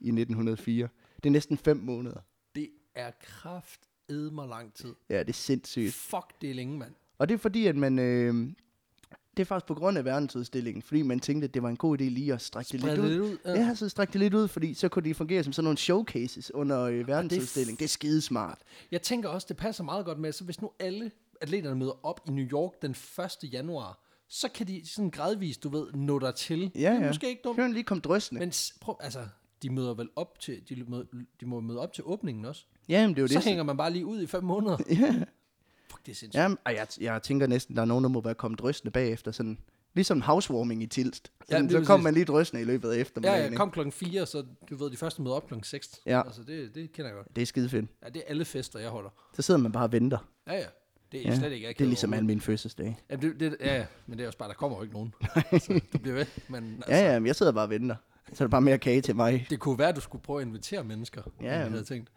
Speaker 2: i 1904. Det er næsten 5 måneder.
Speaker 1: Det er kraft mig lang tid.
Speaker 2: Ja, det er sindssygt.
Speaker 1: Fuck, det er længe, mand.
Speaker 2: Og det er fordi, at man... Øh, det er faktisk på grund af verdensudstillingen, fordi man tænkte, at det var en god idé lige at strække det
Speaker 1: Bred
Speaker 2: lidt ud.
Speaker 1: det ud.
Speaker 2: Ja, så stræk det lidt ud, fordi så kunne de fungere som sådan nogle showcases under
Speaker 1: Ah,
Speaker 2: øh, verdensudstillingen. Det er skidesmart.
Speaker 1: Jeg tænker også, det passer meget godt med, så hvis nu alle atleterne møder op i New York den 1. januar, så kan de sådan gradvist, du ved, nå dig til. det er måske ikke dumt.
Speaker 2: Kan lige komme drøsende. Men,
Speaker 1: Men s- prøv, altså, de møder vel op til, de, møder, de må møde op til åbningen også.
Speaker 2: Jamen, det er jo
Speaker 1: Så
Speaker 2: det.
Speaker 1: hænger man bare lige ud i fem måneder.
Speaker 2: Ja.
Speaker 1: Fuck, det er sindssygt.
Speaker 2: Jamen, og jeg, jeg tænker næsten, der er nogen, der må være kommet drøsende bagefter. Sådan, ligesom en housewarming i Tilst. Sådan,
Speaker 1: det er
Speaker 2: så kom
Speaker 1: præcis.
Speaker 2: man lige drøsende i løbet af
Speaker 1: Ja,
Speaker 2: eftermiddagen.
Speaker 1: ja,
Speaker 2: ikke?
Speaker 1: kom klokken 4, så du ved, de første møder op klokken 6.
Speaker 2: Ja.
Speaker 1: Altså, det, det kender jeg godt.
Speaker 2: Det er skide fedt.
Speaker 1: Ja, det er alle fester, jeg holder.
Speaker 2: Så sidder man bare og venter.
Speaker 1: Ja, ja. Det er
Speaker 2: Ja,
Speaker 1: ja, slet ikke
Speaker 2: det er ligesom alle
Speaker 1: alle.
Speaker 2: mine fødselsdage.
Speaker 1: Ja, det, det, ja, ja, men det er også bare, der kommer jo ikke nogen. så det bliver ved. Men altså,
Speaker 2: Ja, ja, men jeg sidder bare og venter. Så er der bare mere kage til mig.
Speaker 1: det kunne være, at du skulle prøve at invitere mennesker, ja,
Speaker 2: ja.
Speaker 1: jeg havde tænkt.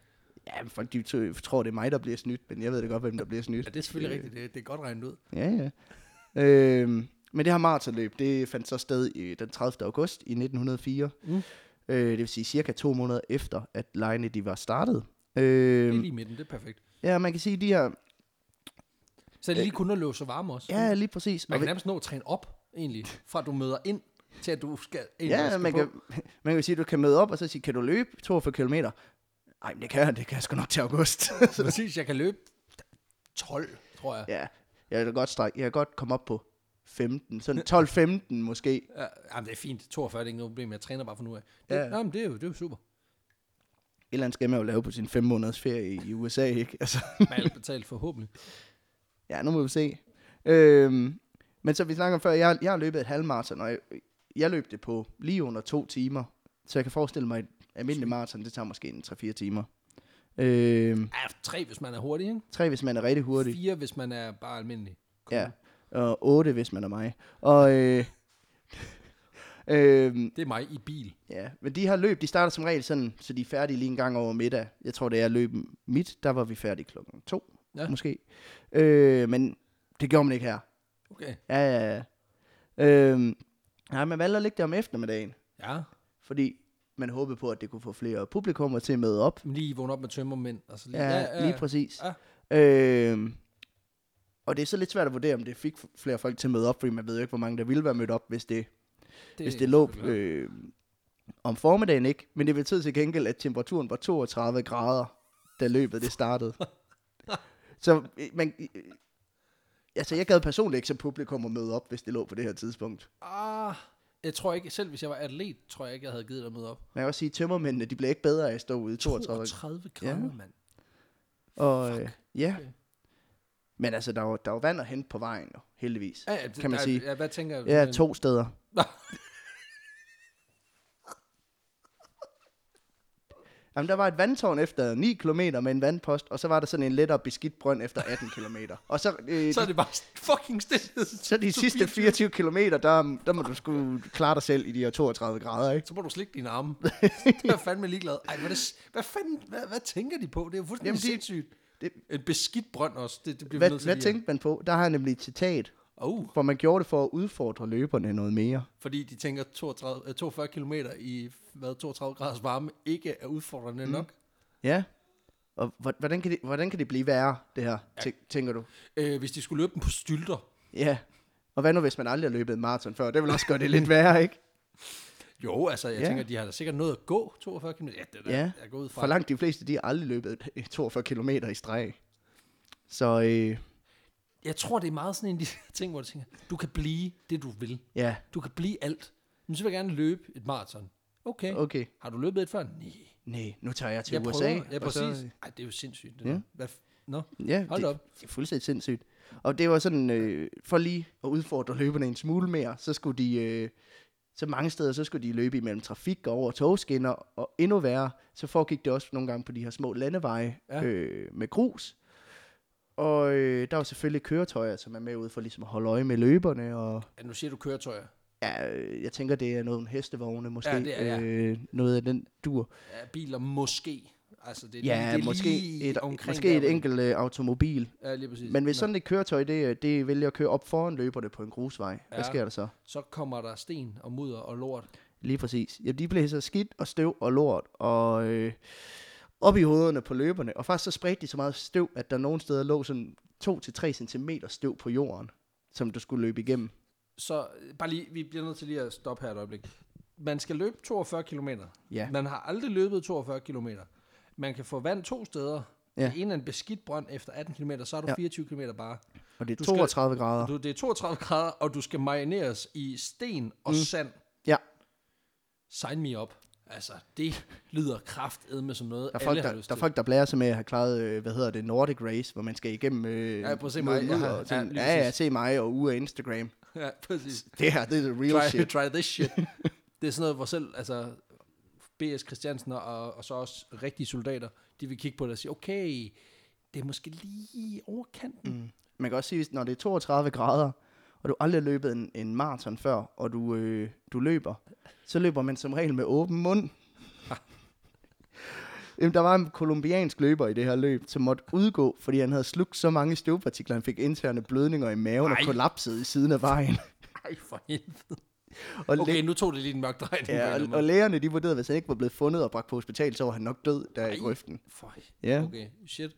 Speaker 2: Ja, men folk de tø- tror, det er mig, der bliver snydt, men jeg ved det godt, hvem der bliver snydt.
Speaker 1: Ja, det er selvfølgelig rigtigt. Det, det er godt regnet ud.
Speaker 2: Ja, ja. øhm, men det her maratonløb, det fandt så sted i, den 30. august i 1904.
Speaker 1: Mm.
Speaker 2: Mm. Øh, det vil sige cirka to måneder efter, at lejene de var startet.
Speaker 1: Det er
Speaker 2: Øh,
Speaker 1: lige i midten, det er perfekt.
Speaker 2: ja, man kan sige, de her...
Speaker 1: Så det lige kunne nå at løbe så varme også.
Speaker 2: Ja, lige præcis.
Speaker 1: Man
Speaker 2: Og
Speaker 1: kan
Speaker 2: vi-
Speaker 1: nærmest nå at træne op, egentlig, fra du møder ind, til at du skal, egentlig
Speaker 2: Ja,
Speaker 1: skal
Speaker 2: man
Speaker 1: på.
Speaker 2: kan, man kan sige, at du kan møde op, og så sige, kan du løbe 42 km? Nej, men det kan jeg, det kan jeg sgu nok til august.
Speaker 1: Præcis, jeg kan løbe 12, tror jeg.
Speaker 2: ja, jeg kan godt strække, jeg kan godt komme op på 15, sådan 12-15 måske.
Speaker 1: Ja, jamen, det er fint. 42 det er ikke noget problem. Jeg træner bare for nu af. Det, ja.
Speaker 2: Ja.
Speaker 1: Jamen, det er jo, det er jo super.
Speaker 2: Et eller andet skal man jo lave på sin 5 måneders ferie i USA, ikke? Altså.
Speaker 1: Med alt betalt forhåbentlig.
Speaker 2: Ja, nu må vi se. Øhm, men så vi snakker om før, jeg, jeg har løbet et halvmarathon, og jeg, jeg løb det på lige under to timer. Så jeg kan forestille mig, at et almindeligt marathon, det tager måske en 3-4 timer. Øhm,
Speaker 1: Ja, tre, hvis man er hurtig, ikke?
Speaker 2: tre, hvis man er rigtig
Speaker 1: Hurtig.
Speaker 2: hurtig.
Speaker 1: Fire, hvis man er bare almindelig. Cool.
Speaker 2: Ja. Og otte, hvis man er mig. Og, øh, øhm,
Speaker 1: Det er mig i bil.
Speaker 2: ja, men de her løb, de starter som regel sådan, så de er færdige lige en gang over middag. Jeg tror, det er løb mit, der var vi færdige klokken to,
Speaker 1: Ja.
Speaker 2: ja. måske. Øh, men det gjorde man ikke her.
Speaker 1: Okay.
Speaker 2: Ja, ja, ja. Øhm, nej, man valgte at lægge det om eftermiddagen,
Speaker 1: Ja.
Speaker 2: fordi man håbede på, at det kunne få flere publikummer til at møde op.
Speaker 1: Men Lige vågne op med tømmermænd. Altså lige,
Speaker 2: Ja, ja, ja. lige præcis.
Speaker 1: Ja.
Speaker 2: Ja. Øhm, og det er så lidt svært at vurdere, om det fik f- flere folk til at møde op, fordi man ved jo ikke, hvor mange der ville være mødt op, hvis det, det, hvis det lå øh, om formiddagen ikke. Men det betød til gengæld, at temperaturen var 32 grader, da løbet det startede. så øh, man... Øh, altså, jeg gad personligt ikke som publikum at møde op, hvis det lå på det her tidspunkt.
Speaker 1: Ah, jeg tror ikke, selv hvis jeg var atlet, tror jeg ikke, jeg havde givet dig møde op.
Speaker 2: Man kan også sige, at tømmermændene, de bliver ikke bedre af at stå ude i 32.
Speaker 1: 32 grader, ja.
Speaker 2: Ja.
Speaker 1: mand.
Speaker 2: Og, øh, ja.
Speaker 1: Okay.
Speaker 2: Men altså, der var, der var vand at hente på vejen, jo, heldigvis.
Speaker 1: Ja, ja, det-
Speaker 2: Kan man
Speaker 1: der-
Speaker 2: sige.
Speaker 1: Ja, hvad tænker
Speaker 2: Ja,
Speaker 1: men-
Speaker 2: to steder.
Speaker 1: Nå.
Speaker 2: Jamen, der var et vandtårn efter 9 km med en vandpost, og så var der sådan en lettere beskidt brønd efter 18 km. Og så, øh,
Speaker 1: Så
Speaker 2: så,
Speaker 1: er det bare fucking stille.
Speaker 2: så de sidste 24 km, der, der må du sgu klare dig selv i de her 32 grader, ikke?
Speaker 1: Så må du slikke dine arme. det er jeg fandme ligeglad. Ej, hvad, det, s- hvad, fanden, hvad, hvad tænker de på? Det er jo fuldstændig Jamen,
Speaker 2: Jamen,
Speaker 1: det,
Speaker 2: det-
Speaker 1: sindssygt. Det,
Speaker 2: det-
Speaker 1: en beskidt brønd også. Det, det bliver vi
Speaker 2: Hvad,
Speaker 1: nødt til
Speaker 2: hvad
Speaker 1: lige at-
Speaker 2: tænkte man på? Der har jeg nemlig et citat,
Speaker 1: Oh,
Speaker 2: hvor man gjorde det for at udfordre løberne noget mere.
Speaker 1: fordi de tænker 32, øh, 42 km i hvad, 32 graders varme ikke er udfordrende mm. nok.
Speaker 2: Ja. Og hvor- hvordan kan, det, hvordan kan det blive værre, det her, tæ- tænker du?
Speaker 1: Øh, hvis de skulle løbe dem på stylter.
Speaker 2: Ja. Og hvad nu, hvis man aldrig har løbet en maraton før? Det vil også gøre det lidt værre, ikke?
Speaker 1: Jo, altså, jeg
Speaker 2: Ja.
Speaker 1: yeah. tænker, de har da sikkert noget at gå 42 km. Ja, det er
Speaker 2: Ja.
Speaker 1: yeah. jeg går ud fra.
Speaker 2: For langt de fleste, de har aldrig løbet 42 km i streg. Så øh,
Speaker 1: Jeg tror, det er meget sådan en af de ting, hvor du tænker, du kan blive det, du vil.
Speaker 2: ja,
Speaker 1: Du kan blive alt. Men så vil jeg gerne løbe et maraton. Okay. okay.
Speaker 2: okay.
Speaker 1: Har du løbet et før? Nej.
Speaker 2: Nej, nu tager jeg til
Speaker 1: jeg
Speaker 2: USA.
Speaker 1: Prøver. Ja,
Speaker 2: og så-
Speaker 1: præcis. Ej, det er jo sindssygt. Det
Speaker 2: Ja.
Speaker 1: ja. Hvad f- Nå,
Speaker 2: ja,
Speaker 1: hold
Speaker 2: det,
Speaker 1: op.
Speaker 2: det er fuldstændig sindssygt. Og det var sådan, øh, for lige at udfordre løberne en smule mere, så skulle de, øh, Så mange steder, så skulle de løbe imellem trafik og over togskinner, og endnu værre, så foregik det også nogle gange på de her små landeveje
Speaker 1: Ja.
Speaker 2: ja. øh, med grus. Og øh, der var selvfølgelig køretøjer, som er med ud for ligesom at holde øje med løberne, og
Speaker 1: Ja, nu siger du køretøjer.
Speaker 2: ja, øh, jeg tænker, det er noget om hestevogne måske,
Speaker 1: Ja, det er, ja.
Speaker 2: øh, noget af den dur.
Speaker 1: Ja, biler måske. Altså, det, er lige-
Speaker 2: Ja,
Speaker 1: det er
Speaker 2: måske,
Speaker 1: lige
Speaker 2: et,
Speaker 1: omkring
Speaker 2: måske
Speaker 1: der,
Speaker 2: et
Speaker 1: hvor-
Speaker 2: enkelt øh, automobil.
Speaker 1: Ja, lige præcis.
Speaker 2: Men hvis
Speaker 1: Nå,
Speaker 2: sådan et køretøj, det, øh, det vælger at køre op foran løberne på en grusvej, ja.
Speaker 1: Ja.
Speaker 2: hvad sker der så?
Speaker 1: Så kommer der sten og mudder og lort.
Speaker 2: Lige præcis. Ja, de blev så skidt og støv og lort og øh, op i hovederne på løberne. Og faktisk så spredte de så meget støv, at der nogle steder lå sådan 2-3 cm støv på jorden, som du skulle løbe igennem.
Speaker 1: Så øh, bare lige, vi bliver nødt til lige at stoppe her et øjeblik. Man skal løbe 42 km.
Speaker 2: Ja.
Speaker 1: Man har aldrig løbet 42 km. Man kan få vand to steder.
Speaker 2: Ja.
Speaker 1: Ja. En er en beskidt brønd efter 18 km, så er du
Speaker 2: Ja.
Speaker 1: 24 km bare.
Speaker 2: Og det
Speaker 1: Du
Speaker 2: er
Speaker 1: skal-
Speaker 2: 32 grader.
Speaker 1: Du, det er 32 grader, og du skal marineres i sten og mm. sand.
Speaker 2: Ja.
Speaker 1: Sign me up. Altså, det lyder kraftedme som noget,
Speaker 2: Der er,
Speaker 1: alle
Speaker 2: folk,
Speaker 1: har
Speaker 2: der,
Speaker 1: lyst
Speaker 2: der er
Speaker 1: til.
Speaker 2: folk, der blærer sig med at have klaret, øh, hvad hedder det, Nordic Race, hvor man skal igennem øh,
Speaker 1: Ja, prøv at se
Speaker 2: noget
Speaker 1: mig. Jeg
Speaker 2: mudder
Speaker 1: har-
Speaker 2: og
Speaker 1: ja,
Speaker 2: sådan,
Speaker 1: lige
Speaker 2: ja, ja,
Speaker 1: præcis.
Speaker 2: se mig og uge af Instagram.
Speaker 1: Ja, præcis.
Speaker 2: Det her, det er the real
Speaker 1: try,
Speaker 2: shit.
Speaker 1: try this shit. det er sådan noget, hvor selv altså, B.S. Christiansen og, og så også rigtige soldater, de vil kigge på det og sige, okay, det er måske lige i overkanten. Mm.
Speaker 2: Man kan også sige, hvis- når det er 32 grader, og du aldrig har løbet en, en maraton før, og du, øh, du løber, så løber man som regel med åben mund. Jamen, der var en kolumbiansk løber i det her løb, som måtte udgå, fordi han havde slugt så mange støvpartikler, han fik interne blødninger i maven og
Speaker 1: Ej.
Speaker 2: kollapsede i siden af vejen.
Speaker 1: Ej, for helvede.
Speaker 2: Og
Speaker 1: Okay, nu tog det lige en mørk drejning. på en
Speaker 2: Ja,
Speaker 1: eller anden
Speaker 2: og, og
Speaker 1: måde.
Speaker 2: lægerne de vurderede, at hvis han ikke var blevet fundet og bragt på hospital, så var han nok død der Ej. i
Speaker 1: Ej.
Speaker 2: grøften.
Speaker 1: For,
Speaker 2: Ja, okay.
Speaker 1: okay, shit.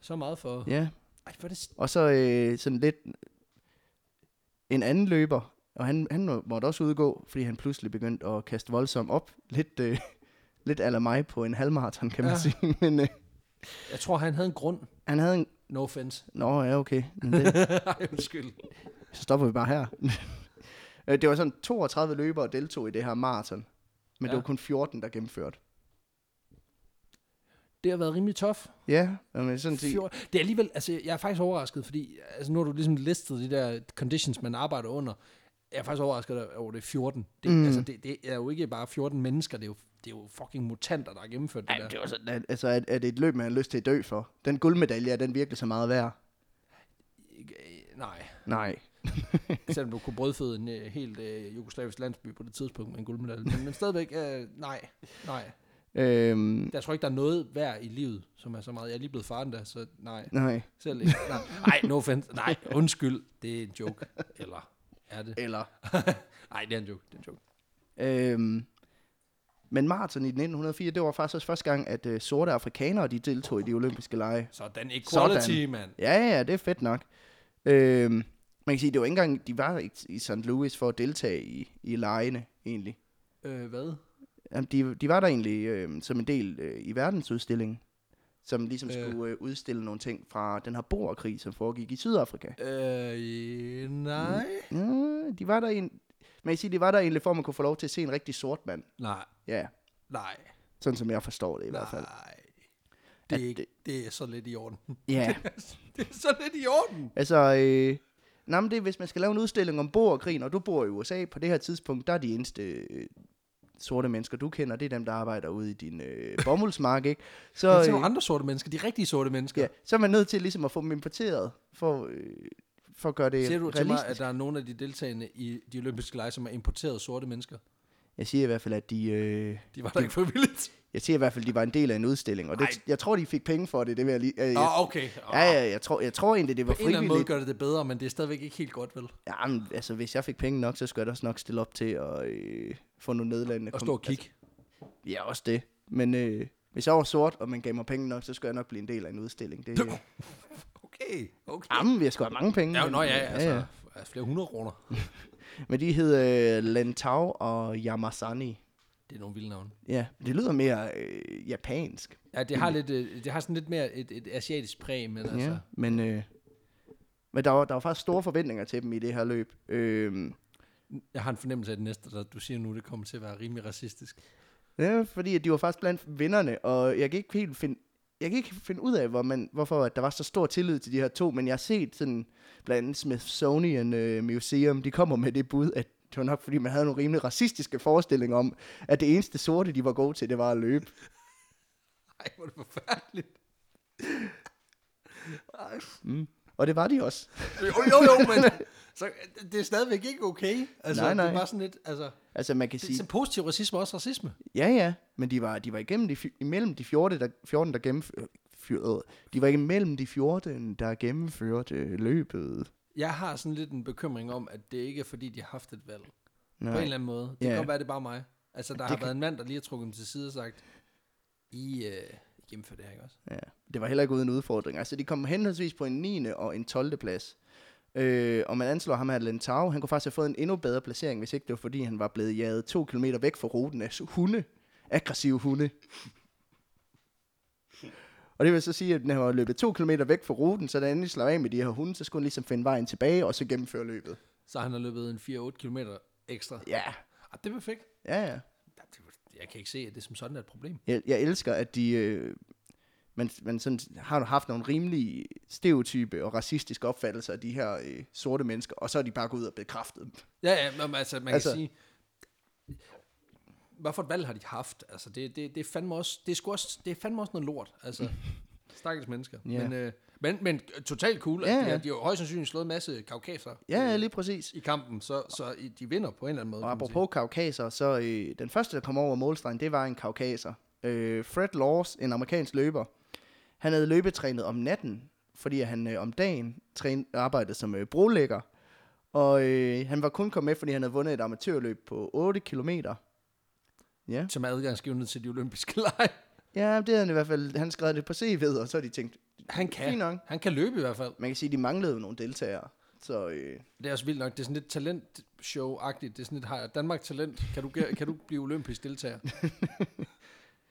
Speaker 1: Så meget for...
Speaker 2: ja.
Speaker 1: Ej, hvor er det...
Speaker 2: Og så øh, sådan lidt en anden løber, og han, han må- måtte også udgå, fordi han pludselig begyndte at kaste voldsomt op. Lidt, øh, lidt ala mig på en halvmarathon, kan man
Speaker 1: Ja.
Speaker 2: ja. sige. Men øh,
Speaker 1: Jeg tror, han havde en grund.
Speaker 2: han havde en...
Speaker 1: No offense.
Speaker 2: Nå, ja, okay. Men det,
Speaker 1: Ej, undskyld.
Speaker 2: så stopper vi bare her. Øh, det var sådan 32 løbere der deltog i det her maraton. Men ja.
Speaker 1: Ja.
Speaker 2: det var kun 14, der gennemførte.
Speaker 1: Det har været rimelig tof.
Speaker 2: Ja, men sådan set.
Speaker 1: Fjord- Det er alligevel, altså jeg er faktisk overrasket, fordi altså, nu har du ligesom listet de der conditions, man arbejder under. Jeg er faktisk overrasket over, det er 14. Det, mm.
Speaker 2: Mm.
Speaker 1: altså, det, det er jo ikke bare 14 mennesker, det er jo, det er jo fucking mutanter, der har gennemført det
Speaker 2: Ej,
Speaker 1: der.
Speaker 2: men det var sådan, at, altså, at, at et løb, man har lyst til at dø for. Den guldmedalje, er den virkelig så meget værd?
Speaker 1: Øh, Nej,
Speaker 2: Nej.
Speaker 1: selvom du kunne brødføde en øh, helt øh, jugoslavisk landsby på det tidspunkt med en guldmedalje. Men, men stadigvæk, øh, nej, nej.
Speaker 2: Øhm,
Speaker 1: Jeg tror ikke, der er noget værd i livet, som er så meget. Jeg er lige blevet faren der, så nej.
Speaker 2: nej.
Speaker 1: Selv ikke. Nej, Ej, no offense. Nej, undskyld. Det er en joke. Eller er det?
Speaker 2: Eller?
Speaker 1: Nej, det er en joke. Det er en joke.
Speaker 2: Øhm, men maraton i 1904, det var faktisk også første gang, at øh, sorte afrikanere, de deltog i de olympiske lege.
Speaker 1: Sådan, equality, Sådan. mand.
Speaker 2: Ja, ja, det er fedt nok. Øhm, man kan sige, det var ikke engang, de var ikke i St. Louis for at deltage i, i legene, egentlig.
Speaker 1: Øh, hvad?
Speaker 2: Jamen, de, de var der egentlig øh, som en del øh, i verdensudstillingen, som ligesom
Speaker 1: Øh.
Speaker 2: skulle øh, udstille nogle ting fra den her boerkrig, som foregik i Sydafrika.
Speaker 1: Øh, nej. Mm.
Speaker 2: Ja, de var der en... Man kan sige, de var der egentlig for, at man kunne få lov til at se en rigtig sort mand.
Speaker 1: Nej,
Speaker 2: Ja,
Speaker 1: nej,
Speaker 2: sådan som jeg forstår det i hvert fald.
Speaker 1: nej. Det
Speaker 2: At
Speaker 1: er, ikke,
Speaker 2: det-
Speaker 1: det er så lidt i orden.
Speaker 2: Ja,
Speaker 1: det er så lidt i orden.
Speaker 2: altså... Øh, nej, men det er, hvis man skal lave en udstilling om boerkrigen, og du bor i USA på det her tidspunkt, der er de eneste øh, sorte mennesker, du kender, det er dem, der arbejder ude i din øh, bomuldsmark, ikke? Så,
Speaker 1: Men så er
Speaker 2: øh,
Speaker 1: nogle andre sorte mennesker, de rigtige sorte mennesker.
Speaker 2: ja,
Speaker 1: Ja,
Speaker 2: så er man nødt til ligesom at få dem importeret, for, øh, for at gøre det
Speaker 1: Ser du til mig,
Speaker 2: realistisk.
Speaker 1: at der er nogle af de deltagende i de olympiske lege, som er importeret sorte mennesker?
Speaker 2: Jeg siger i hvert fald, at de... Øh,
Speaker 1: De var der ikke frivilligt.
Speaker 2: jeg siger i hvert fald, at de var en del af en udstilling, og det,
Speaker 1: Ej.
Speaker 2: jeg tror, de fik penge for det, det vil jeg lige... Øh,
Speaker 1: Åh,
Speaker 2: jeg,
Speaker 1: oh, okay. Oh.
Speaker 2: Ja, ja, jeg tror, jeg tror egentlig, det
Speaker 1: På
Speaker 2: var
Speaker 1: en eller anden måde
Speaker 2: frivilligt.
Speaker 1: gør det det bedre, men det er stadigvæk ikke helt godt, vel?
Speaker 2: Ja, men, altså, hvis jeg fik penge nok, så skulle jeg da også nok stille op til at øh, få nogle nederlandene.
Speaker 1: Og stå og kigge.
Speaker 2: Altså, ja, også det. Men øh, hvis jeg var sort, og man gav mig penge nok, så skulle jeg nok blive en del af en udstilling. Det, øh,
Speaker 1: Okay, okay.
Speaker 2: jamen, vi skulle have mange penge.
Speaker 1: Ja,
Speaker 2: men-
Speaker 1: nå ja, altså. altså flere hundrede kroner.
Speaker 2: Men de hed øh, Lantau og Yamasani.
Speaker 1: Det er nogle vilde navne.
Speaker 2: Ja, det lyder mere øh, japansk.
Speaker 1: Ja, det har, lidt, øh, det har sådan lidt mere et, et asiatisk præg, men altså...
Speaker 2: Altså. Ja, men... Øh, men der var, der var faktisk store forventninger til dem i det her løb. Øhm,
Speaker 1: Jeg har en fornemmelse af, at det næste, der du siger nu, det kommer til at være rimelig racistisk.
Speaker 2: Ja, fordi at de var faktisk blandt vinderne, og jeg kan ikke helt finde, jeg kan ikke finde ud af, hvor man, hvorfor at der var så stor tillid til de her to, men jeg har set sådan, blandt andet Smithsonian øh, Museum, de kommer med det bud, at det var nok, fordi man havde nogle rimelig racistiske forestillinger om, at det eneste sorte, de var gode til, det var at løbe.
Speaker 1: Ej, hvor er det forfærdeligt. Ej,
Speaker 2: Og det var de også.
Speaker 1: Jo, jo, jo, men så, det er stadigvæk ikke okay. Altså,
Speaker 2: Nej, nej.
Speaker 1: Det er bare sådan lidt, altså,
Speaker 2: Altså man kan
Speaker 1: det er
Speaker 2: sige,
Speaker 1: så positiv racisme er også racisme.
Speaker 2: ja ja, men de var, de var igennem de, fj- imellem de 14, der, 14, der gennemførte, de var imellem de 14, der gennemførte øh, løbet.
Speaker 1: Jeg har sådan lidt en bekymring om, at det ikke er fordi, de har haft et valg. Nej. På en
Speaker 2: Nej,
Speaker 1: eller anden måde. Det
Speaker 2: Ja.
Speaker 1: kan godt være, det er bare mig. Altså, der har
Speaker 2: kan-
Speaker 1: været en mand, der lige har trukket dem til side og sagt, I øh, gennemfører det her, ikke også?
Speaker 2: ja. Det var heller ikke uden udfordring. Altså de kom henholdsvis på en 9. og en 12. plads. Øh, og man anslår ham her Lentau, han kunne faktisk have fået en endnu bedre placering, hvis ikke det var fordi, han var blevet jaget to kilometer væk fra ruten af hunde. Aggressive hunde. Og det vil så sige, at når han var løbet to kilometer væk fra ruten, så da han endelig slap af med de her hunde, så skulle han ligesom finde vejen tilbage, og så gennemføre løbet.
Speaker 1: Så han har løbet en 4-8 km ekstra.
Speaker 2: Ja,
Speaker 1: Ah, det er perfekt.
Speaker 2: ja, ja.
Speaker 1: Ja, det- Jeg kan ikke se, at det som sådan er et problem.
Speaker 2: Jeg, jeg elsker, at de... Øh, man, man sådan, har haft nogle rimelige stereotype og racistiske opfattelser af de her øh, sorte mennesker, og så er de bare gået ud og bekræftet dem.
Speaker 1: Ja, ja, men altså, man altså,
Speaker 2: Altså-
Speaker 1: kan sige... Hvad for et valg har de haft? Altså, det, det, det er fandme også... Det er, sgu også, det er fandme også noget lort, altså. Stakkels mennesker.
Speaker 2: Ja.
Speaker 1: Men, øh, men, men totalt cool.
Speaker 2: Ja,
Speaker 1: altså, de,
Speaker 2: ja.
Speaker 1: har, de har jo højst sandsynligt slået en masse kaukaser
Speaker 2: Ja, ja, lige præcis.
Speaker 1: i kampen, så, så i- de vinder på en eller anden måde.
Speaker 2: Og
Speaker 1: kan man sige.
Speaker 2: apropos kaukaser, så øh, den første, der kom over målstregen, det var en kaukaser. Øh, Fred Laws, en amerikansk løber, han havde løbetrænet om natten, fordi han øh, om dagen træn, arbejdede som øh, brolægger. Og øh, han var kun kommet med, fordi han havde vundet et amatørløb på 8 kilometer. Ja.
Speaker 1: Som er adgangsgivende til de olympiske lege.
Speaker 2: Ja, det havde han i hvert fald. Han skrev det på CV'et, og så har de tænkt,
Speaker 1: Han
Speaker 2: Fint
Speaker 1: kan.
Speaker 2: nok.
Speaker 1: Han kan løbe i hvert fald.
Speaker 2: man kan sige, de manglede jo nogle deltagere. Så øh,
Speaker 1: Det er også vildt nok. Det er sådan lidt talentshow-agtigt. Det er sådan lidt har Danmark talent. Kan du, gæ- kan du blive olympisk deltager?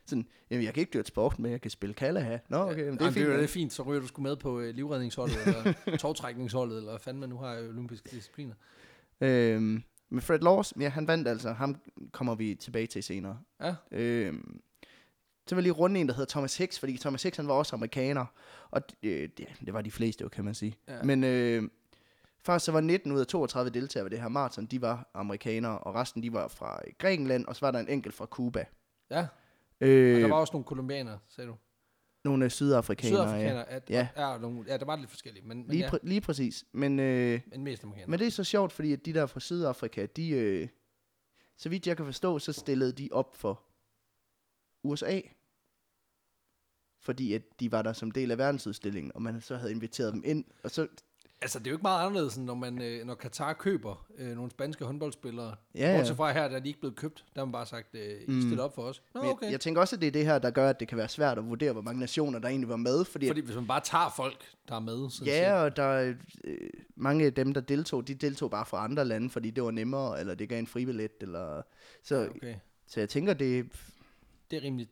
Speaker 2: sådan, jamen, jeg kan ikke dyrke sport, men jeg kan spille Kalaha. Nå, okay, jamen, det er
Speaker 1: Jamen,
Speaker 2: fint.
Speaker 1: Det er
Speaker 2: nok.
Speaker 1: fint. Så ryger du sgu med på øh, livredningsholdet, eller togtrækningsholdet, eller hvad fanden man nu har i olympiske discipliner.
Speaker 2: Øhm, men Fred Laws, ja, han vandt altså. Ham kommer vi tilbage til senere.
Speaker 1: Ja.
Speaker 2: Øhm, så vil jeg lige runde en, der hedder Thomas Hicks, fordi Thomas Hicks, han var også amerikaner. Og øh, ja, det var de fleste jo, kan man sige.
Speaker 1: Ja.
Speaker 2: Men øh, faktisk så var 19 ud af 32 deltagere ved det her maraton, de var amerikanere, og resten de var fra øh, Grækenland, og så var der en enkelt fra Cuba.
Speaker 1: Ja, og
Speaker 2: Øh,
Speaker 1: der var også nogle kolumbianere, sagde du.
Speaker 2: Nogle af sydafrikanere.
Speaker 1: Sydafrikanere. Ja,
Speaker 2: Ja.
Speaker 1: ja. Er, nogle, ja, der var lidt forskellige, men,
Speaker 2: Ja.
Speaker 1: men,
Speaker 2: Lige,
Speaker 1: ja,
Speaker 2: præ- lige præcis. Men, øh,
Speaker 1: men mest amerikanere.
Speaker 2: men det er så sjovt, fordi at de der fra Sydafrika, de, øh, så vidt jeg kan forstå, så stillede de op for USA. Fordi at de var der som del af verdensudstillingen, og man så havde inviteret dem ind. Og så,
Speaker 1: Altså, det er jo ikke meget anderledes, end når, man, øh, når Katar køber øh, nogle spanske håndboldspillere.
Speaker 2: Ja, ja.
Speaker 1: Bortset fra her, der er de ikke blevet købt. Der har man bare sagt, øh, I
Speaker 2: Mm.
Speaker 1: stiller op for os. Nå,
Speaker 2: men
Speaker 1: okay.
Speaker 2: jeg, jeg tænker også, at det er det her, der gør, at det kan være svært at vurdere, hvor mange nationer, der egentlig var med. Fordi,
Speaker 1: Fordi hvis man bare tager folk, der er med, så
Speaker 2: Ja, og der er, øh, mange af dem, der deltog, de deltog bare fra andre lande, fordi det var nemmere, eller det gav en fribillet. Eller, så,
Speaker 1: okay.
Speaker 2: så jeg tænker, det,
Speaker 1: Det er rimeligt.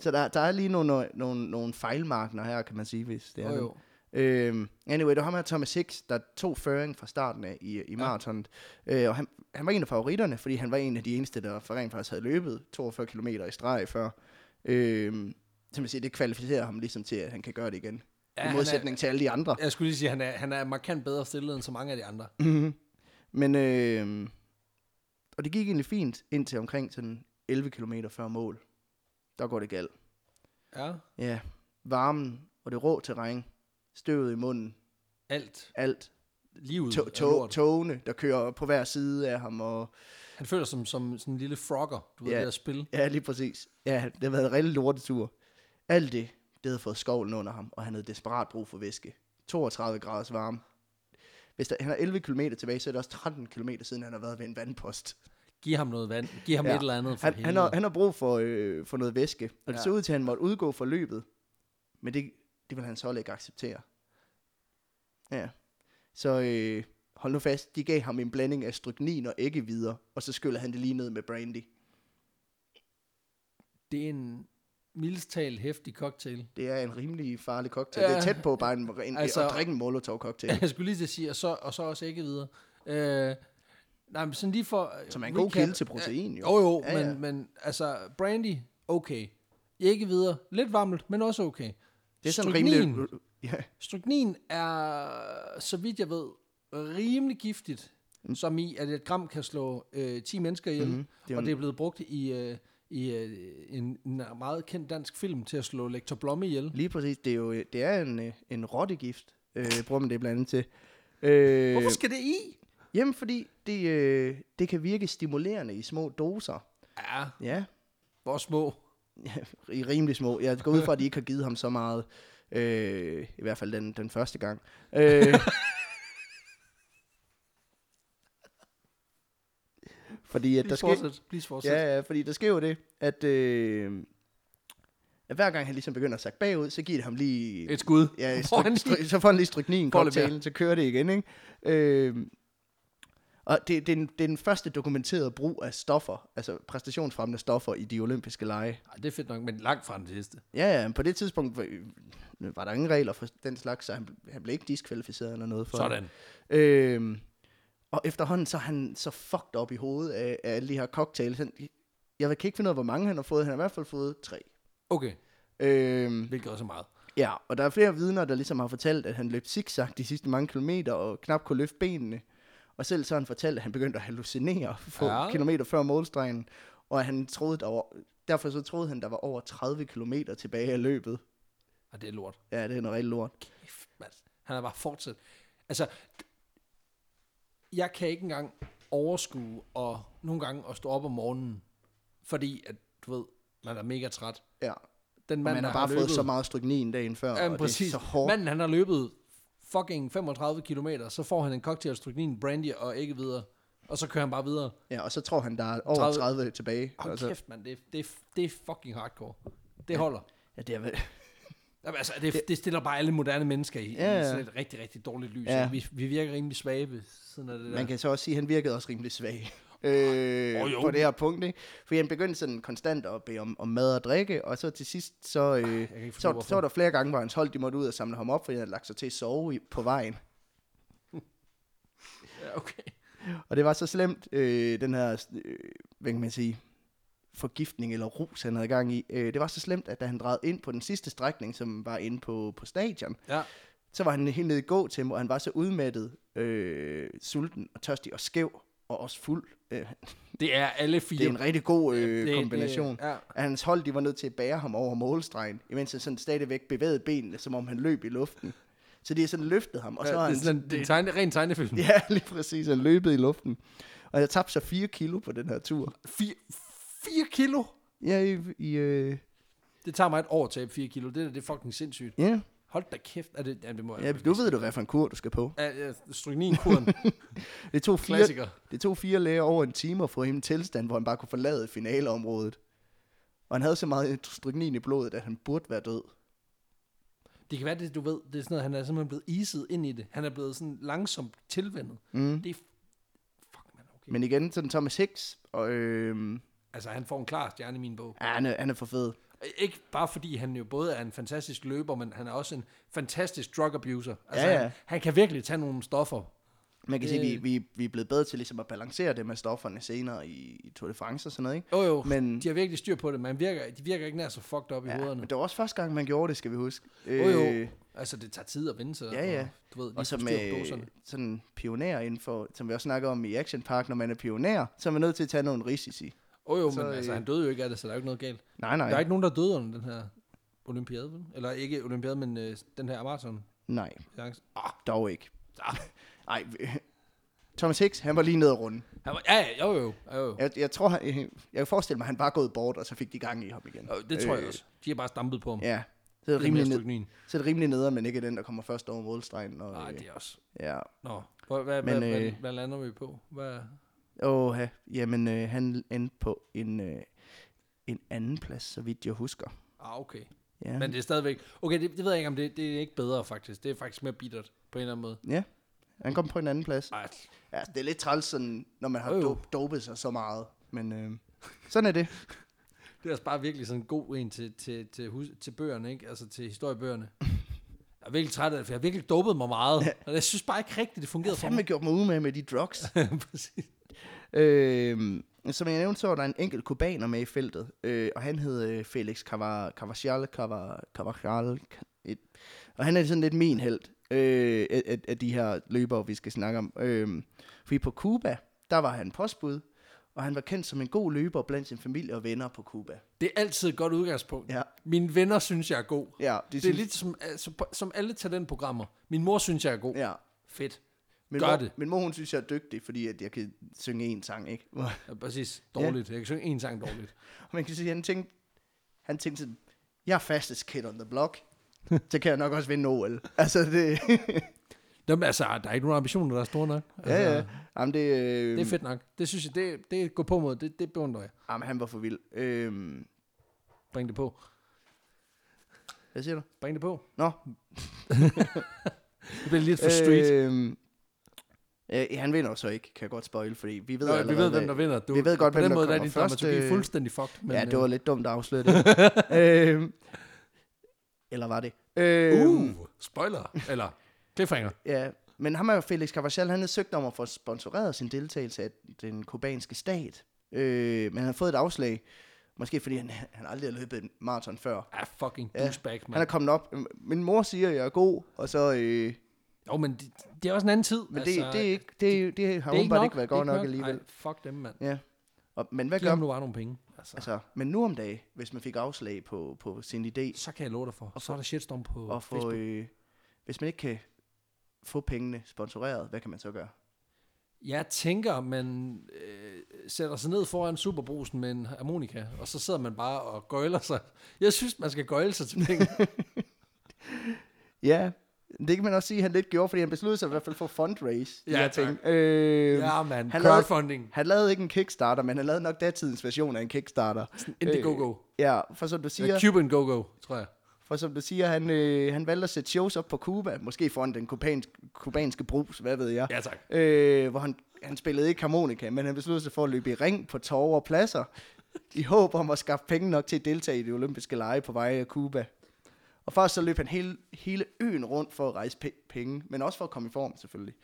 Speaker 2: Så der, der er lige nogle, nogle, nogle fejlmarkner her, kan man sige, hvis det
Speaker 1: Det
Speaker 2: er
Speaker 1: er jo,
Speaker 2: noget.
Speaker 1: jo.
Speaker 2: Øhm, anyway, det var ham her, Thomas Hicks, der tog føring fra starten af i, i maratonet. Øh, og han, han var en af favoritterne, fordi han var en af de eneste, der for rent faktisk havde løbet 42 km i streg før. Øhm, så man siger, det kvalificerer ham ligesom til, at han kan gøre det igen.
Speaker 1: Ja,
Speaker 2: Ja, I
Speaker 1: han
Speaker 2: modsætning er... til alle de andre.
Speaker 1: Jeg skulle lige sige, at han er, han er markant bedre stillet end så mange af de andre.
Speaker 2: Mhm. Men, øh, og det gik egentlig fint indtil omkring sådan 11 km før mål. Der går det galt.
Speaker 1: Ja,
Speaker 2: Ja, varmen og det rå terræn, støvet i munden,
Speaker 1: alt.
Speaker 2: alt.
Speaker 1: Livet
Speaker 2: To-
Speaker 1: er
Speaker 2: to-
Speaker 1: lort.
Speaker 2: togene, der kører på hver side af ham. Og,
Speaker 1: Han føler sig som, som sådan en lille frogger, du ved,
Speaker 2: Ja.
Speaker 1: ved at spille.
Speaker 2: ja, lige præcis. Ja, det har været en rigtig lortetur. Alt det, det havde fået skovlen under ham, og han havde desperat brug for væske. 32 graders varme. Hvis der, han har 11 km tilbage, så er det også 13 km siden, han har været ved en vandpost.
Speaker 1: Giv ham noget vand. Giv ham
Speaker 2: Ja.
Speaker 1: ja. et eller andet for
Speaker 2: Han, han,
Speaker 1: helvede.
Speaker 2: har, han har brug for, øh, for noget væske, og det
Speaker 1: Ja.
Speaker 2: så ud til, at han måtte udgå for løbet. Men det, det vil han så heller ikke acceptere. Ja. Så øh, hold nu fast, de gav ham en blanding af stryknin og æggevider, og så skyllede han det lige ned med brandy.
Speaker 1: Det er en mildestal hæftig cocktail.
Speaker 2: Det er en rimelig farlig cocktail. Ja. Det er
Speaker 1: Ja.
Speaker 2: tæt på bare en, en, altså,
Speaker 1: Altså-
Speaker 2: at drikke en Molotov-cocktail.
Speaker 1: Jeg skulle lige til at sige, og så, og så også ikke videre. Øh, nej, men sådan lige for... øh,
Speaker 2: Som er en god
Speaker 1: recap-
Speaker 2: kilde til protein, jo.
Speaker 1: Jo, jo,
Speaker 2: Ja,
Speaker 1: ja,
Speaker 2: ja.
Speaker 1: men, men altså, brandy, okay. Ikke videre. Lidt varmt, men også okay.
Speaker 2: Det er sådan
Speaker 1: Stryknin.
Speaker 2: rimelig... Ja,
Speaker 1: Stryknin er, så vidt jeg ved, rimelig giftigt. som i, at et gram kan slå øh, 10 mennesker ihjel,
Speaker 2: Mhm.
Speaker 1: mm-hmm.
Speaker 2: Mm. Det er jo
Speaker 1: og
Speaker 2: en-
Speaker 1: det er blevet brugt i, øh, i øh, en, en meget kendt dansk film til at slå Lektor Blomme ihjel.
Speaker 2: Lige præcis, det er jo det er en, øh, en rottegift, øh, bruger man det blandt andet til. Øh,
Speaker 1: Hvorfor skal det i?
Speaker 2: Jamen, fordi det, øh, det kan virke stimulerende i små doser.
Speaker 1: Ja,
Speaker 2: Ja,
Speaker 1: hvor små.
Speaker 2: i rimelig små. Jeg går ud fra, at de ikke har givet ham så meget. Øh, I hvert fald den, den første gang. Øh, fordi at der
Speaker 1: Please
Speaker 2: sker,
Speaker 1: fortsæt. Please fortsæt.
Speaker 2: Ja, ja, fordi der sker jo det, at, øh, at hver gang han ligesom begynder at sakke bagud, så giver det ham lige...
Speaker 1: Et skud.
Speaker 2: ja,
Speaker 1: Hvor han
Speaker 2: stryk, stryk, så får han lige strykningen i
Speaker 1: Får lidt mere.
Speaker 2: cocktailen, så kører det igen, ikke? Øh, og det, det, er den, det er den første dokumenterede brug af stoffer, altså præstationsfremmende stoffer i de olympiske lege.
Speaker 1: Ej, det er fedt nok, men langt fra den sidste.
Speaker 2: Ja, ja, men på det tidspunkt var, øh, var der ingen regler for den slags, så han, han blev ikke diskvalificeret eller noget for det.
Speaker 1: Sådan.
Speaker 2: Øhm, og efterhånden så er han så fucked op i hovedet af, af alle de her cocktails. Han, jeg kan ikke finde ud af, hvor mange han har fået. Han har i hvert fald fået tre.
Speaker 1: Okay,
Speaker 2: Øhm,
Speaker 1: hvilket også er meget.
Speaker 2: ja, og der er flere vidner, der ligesom har fortalt, at han løb zigzag de sidste mange kilometer og knap kunne løfte benene. Og selv så har han fortalt, at han begyndte at hallucinere få
Speaker 1: Ja.
Speaker 2: ja. kilometer før målstregen. Og at han troede, der var, derfor så troede han, der var over 30 kilometer tilbage af løbet.
Speaker 1: Og det er lort.
Speaker 2: Ja, det er noget rigtig lort.
Speaker 1: Kæft, mand. Han er bare fortsat. Altså, d- jeg kan ikke engang overskue og nogle gange at stå op om morgenen, fordi at, du ved, man er mega træt.
Speaker 2: Ja.
Speaker 1: Den
Speaker 2: Man,
Speaker 1: mand,
Speaker 2: man
Speaker 1: der
Speaker 2: har bare
Speaker 1: løbet,
Speaker 2: fået så meget stryknin dagen før,
Speaker 1: Ja, men
Speaker 2: og det er
Speaker 1: præcis.
Speaker 2: så hårdt.
Speaker 1: Manden, han har løbet fucking 35 km, så får han en cocktail, stryknin, brandy og ikke videre. Og så kører han bare videre.
Speaker 2: Ja, og så tror han, der er over
Speaker 1: 30
Speaker 2: 30, tilbage.
Speaker 1: Hold
Speaker 2: altså,
Speaker 1: kæft, mand. Det, det, det er fucking hardcore. Det holder.
Speaker 2: ja, det er vel...
Speaker 1: Jamen, altså, det, det stiller bare alle moderne mennesker i, ja,
Speaker 2: Ja,
Speaker 1: i
Speaker 2: ja.
Speaker 1: sådan et rigtig, rigtig dårligt lys.
Speaker 2: Ja.
Speaker 1: Ja. Vi, vi virker rimelig svage ved siden af det der.
Speaker 2: Man kan så også sige, at han virkede også rimelig svag. Øh,
Speaker 1: Åh, jo.
Speaker 2: oh, på det her punkt, ikke? For han begyndte sådan konstant at bede om, om mad og drikke, og så til sidst, så, øh,
Speaker 1: kan ikke forstå,
Speaker 2: så,
Speaker 1: hvorfor.
Speaker 2: så var der flere gange, hvor hans hold, de måtte ud og samle ham op, fordi han havde lagt sig til at sove i, på vejen.
Speaker 1: Ja, okay.
Speaker 2: Og det var så slemt, øh, den her, øh, hvad kan man sige, forgiftning eller rus, han havde gang i. Øh, det var så slemt, at da han drejede ind på den sidste strækning, som var inde på, på stadion,
Speaker 1: Ja.
Speaker 2: så var han helt nede i gåtempo, og han var så udmattet, øh, sulten og tørstig og skæv, og også fuld. Øh,
Speaker 1: Det er alle fire.
Speaker 2: det er en rigtig god
Speaker 1: Det-
Speaker 2: øh,
Speaker 1: det-
Speaker 2: kombination.
Speaker 1: ja.
Speaker 2: At hans hold, de var nødt til at bære ham over målstregen, imens han sådan stadigvæk bevægede benene, som om han løb i luften. Så de har sådan løftet ham, og så
Speaker 1: Ja,
Speaker 2: har
Speaker 1: det
Speaker 2: han...
Speaker 1: er sådan en, det er en tegne, ren tegnefilm. Ja.
Speaker 2: Ja, lige præcis, han løbet i luften. Og jeg tabte så 4 kilo på den her tur.
Speaker 1: Fire, fire kilo?
Speaker 2: Ja, i, i øh,
Speaker 1: Det tager mig et år at tabe fire kilo. Det, der, det er fucking sindssygt.
Speaker 2: ja.
Speaker 1: Hold da kæft. Er det, ja, det må jeg
Speaker 2: ja, nu ved du, hvad for en kur du skal på.
Speaker 1: Ja, ja, strykninkuren.
Speaker 2: Det tog fire,
Speaker 1: Klassiker.
Speaker 2: Det tog fire læger over en time at få ham i en tilstand, hvor han bare kunne forlade finaleområdet. Og han havde så meget stryknin i blodet, at han burde være død.
Speaker 1: Det kan være, det du ved, det er sådan noget, han er simpelthen blevet iset ind i det. Han er blevet sådan langsomt tilvendet.
Speaker 2: Mm.
Speaker 1: Det er... Fuck, man, okay. Men...
Speaker 2: Men igen, sådan Thomas Hicks, og øhm,
Speaker 1: Altså, han får en klar stjerne i min bog.
Speaker 2: ja, han, er, han er for fed.
Speaker 1: Ikke bare fordi han jo både er en fantastisk løber, men han er også en fantastisk drug abuser. Altså,
Speaker 2: Ja, ja.
Speaker 1: Han, han kan virkelig tage nogle stoffer.
Speaker 2: Man kan sige, vi,
Speaker 1: Øh.
Speaker 2: vi, vi er blevet bedre til ligesom at balancere det med stofferne senere i, i Tour de France og sådan noget, ikke?
Speaker 1: Jo jo,
Speaker 2: Men-
Speaker 1: de har virkelig styr på det, men virker, de virker ikke nær så fucked op i
Speaker 2: Ja,
Speaker 1: hovederne.
Speaker 2: men det var også første gang, man gjorde det, skal vi huske.
Speaker 1: Jo jo, altså det tager tid at vinde sig.
Speaker 2: Ja, ja.
Speaker 1: Og, du ved, lige
Speaker 2: og så
Speaker 1: med...
Speaker 2: med
Speaker 1: doserne.
Speaker 2: sådan pioner inden for, som vi også snakker om i Action Park, når man er pioner, så er man nødt til at tage nogle risici.
Speaker 1: Oh, jo,
Speaker 2: så,
Speaker 1: men altså,
Speaker 2: øh,
Speaker 1: han døde jo ikke af det, så der er jo ikke noget galt.
Speaker 2: Nej, nej.
Speaker 1: Der er ikke nogen, der døde under den her olympiade, vel? Eller ikke olympiade, men øh, den her maraton.
Speaker 2: Nej,
Speaker 1: Ah,
Speaker 2: dog ikke.
Speaker 1: ah.
Speaker 2: Nej, Thomas Hicks, han var lige nede og runde.
Speaker 1: Han var, ja, ja, jo, jo, jo, jo.
Speaker 2: Jeg, jeg tror, han, jeg kan forestille mig, at han bare er gået bort, og så fik de gang i ham igen. Øh,
Speaker 1: Og Øh, Det tror jeg også. De har bare stampet på ham.
Speaker 2: Ja, så
Speaker 1: Det
Speaker 2: er det
Speaker 1: er mere
Speaker 2: rimelig, ned,
Speaker 1: stryknin.
Speaker 2: så er det rimelig nede, men ikke er den, der kommer først over målstregen. Og,
Speaker 1: Nej, det
Speaker 2: øh,
Speaker 1: er også...
Speaker 2: Ja.
Speaker 1: Nå, hvad, hvad,
Speaker 2: Men,
Speaker 1: hvad, hvad,
Speaker 2: øh,
Speaker 1: hvad lander vi på? Hvad?
Speaker 2: Åh, ja. jamen, øh, han endte på en, øh, en anden plads, så vidt jeg husker.
Speaker 1: Ah, okay.
Speaker 2: Ja.
Speaker 1: Men det er stadigvæk... Okay, det, det ved jeg ikke, om det, det er ikke bedre, faktisk. Det er faktisk mere bittert, på en eller anden måde.
Speaker 2: ja. Han kom på en anden plads.
Speaker 1: Ej,
Speaker 2: Ja, det er lidt træls, sådan, når man har
Speaker 1: Jo, jo.
Speaker 2: do- dopet sig så meget. Men øh, sådan er det.
Speaker 1: det er også bare virkelig sådan en god en til, til, til, hus, til bøgerne, ikke? Altså til historiebøgerne. Jeg er virkelig træt af det, for jeg har virkelig dopet mig meget. Og jeg synes bare ikke rigtigt, det
Speaker 2: Jeg
Speaker 1: fungerede
Speaker 2: har
Speaker 1: for mig.
Speaker 2: fandme gjort mig umage med de drugs.
Speaker 1: Præcis.
Speaker 2: Øh, som jeg nævnte, så var der en enkelt kubaner med i feltet, øh, og han hed øh, Felix Cavar- Cavachal, Cavar- Cavachal, Ca- et, og han er sådan lidt min held. øh, af, af- af de her løbere, vi skal snakke om. Øh, fordi på Cuba, der var han postbud, og han var kendt som en god løber blandt sin familie og venner på Cuba.
Speaker 1: Det er altid et godt udgangspunkt.
Speaker 2: Ja.
Speaker 1: Mine venner synes, jeg er god.
Speaker 2: Ja,
Speaker 1: Det, det er lidt som, altså, som alle talentprogrammer. Min mor synes, jeg er god. Ja.
Speaker 2: Ja.
Speaker 1: Fedt.
Speaker 2: Min
Speaker 1: Gør
Speaker 2: mor,
Speaker 1: det.
Speaker 2: Min mor, hun synes, jeg er dygtig, fordi at jeg kan synge en sang, ikke? Hvor-
Speaker 1: Ja, præcis. Dårligt. Ja. Jeg kan synge en sang dårligt.
Speaker 2: Man kan sige, han tænkte, han tænkte sådan, jeg er fastest kid on the block. Så kan jeg nok også vinde OL. Altså, det...
Speaker 1: Jamen, altså, der er ikke nogen ambitioner, der er store nok. Altså,
Speaker 2: ja, ja. Jamen, det... Øh,
Speaker 1: Det er fedt nok. Det synes jeg, det, det går på mod. Det, det beundrer jeg.
Speaker 2: Jamen, han var for vild. Øh,
Speaker 1: Bring det på.
Speaker 2: hvad siger du?
Speaker 1: Bring det på.
Speaker 2: Nå,
Speaker 1: Det bliver lidt for street.
Speaker 2: Øh, øh, han vinder jo så ikke, kan jeg godt spoil, fordi vi ved
Speaker 1: Nå,
Speaker 2: allerede,
Speaker 1: vi ved, hvem der vinder. Du,
Speaker 2: vi ved godt,
Speaker 1: på
Speaker 2: hvem
Speaker 1: den måde,
Speaker 2: der
Speaker 1: der er
Speaker 2: kommer
Speaker 1: din
Speaker 2: først,
Speaker 1: dramaturgi
Speaker 2: øh,
Speaker 1: fuldstændig fucked. Men,
Speaker 2: Ja, det
Speaker 1: øh,
Speaker 2: var lidt dumt at afsløre det. øh, eller var det? Øh,
Speaker 1: Uh, spoiler. Eller cliffhanger.
Speaker 2: Ja, men ham er jo Felix Carvajal, han havde søgt om at få sponsoreret sin deltagelse af den kubanske stat. Øh, men han har fået et afslag, måske fordi han, han aldrig har løbet en maraton før.
Speaker 1: Ah, fucking
Speaker 2: Ja,
Speaker 1: douchebags,
Speaker 2: Han er
Speaker 1: mand.
Speaker 2: kommet op. Min mor siger, at jeg er god, og så... Øh,
Speaker 1: Jo, men det, det er også en anden tid.
Speaker 2: men det, det, er ikke, det, det har
Speaker 1: Altså, det er
Speaker 2: åbenbart ikke været
Speaker 1: det er
Speaker 2: godt nok alligevel.
Speaker 1: Nej, fuck dem, mand.
Speaker 2: Ja. Og, men hvad
Speaker 1: Giv
Speaker 2: gør
Speaker 1: ham nu bare nogle penge. Altså,
Speaker 2: Altså, men nu om dagen, hvis man fik afslag på, på sin idé,
Speaker 1: så kan jeg love dig for. Og så er der shitstorm på
Speaker 2: og få,
Speaker 1: Facebook.
Speaker 2: øh, hvis man ikke kan få pengene sponsoreret, hvad kan man så gøre?
Speaker 1: Jeg tænker, man øh, sætter sig ned foran superbrusen med en harmonika, og så sidder man bare og gøjler sig. Jeg synes, man skal gøjle sig til penge.
Speaker 2: Ja, det kan man også sige, at han lidt gjorde, fordi han besluttede sig i hvert fald for fundraise. de
Speaker 1: Ja,
Speaker 2: her
Speaker 1: tak.
Speaker 2: ting. Øh,
Speaker 1: ja, man.
Speaker 2: han lavede-
Speaker 1: Crowdfunding.
Speaker 2: Han lavede ikke en Kickstarter, men han lavede nok datidens version af en Kickstarter. Øh,
Speaker 1: Indiegogo.
Speaker 2: Ja, for som du
Speaker 1: Eller
Speaker 2: siger,
Speaker 1: Cuban Go-Go, tror jeg.
Speaker 2: for som du siger han, øh, han valgte at sætte shows op på Cuba, måske foran den kubanske, kubanske brus, hvad ved jeg.
Speaker 1: Ja, tak.
Speaker 2: øh, hvor han, han spillede ikke harmonika, men han besluttede sig for at løbe i ring på torve og pladser, i håb om at skaffe penge nok til at deltage i de olympiske lege på vej af Cuba. Og først så løb han hele, hele øen rundt for at rejse pe- penge, men også for at komme i form selvfølgelig.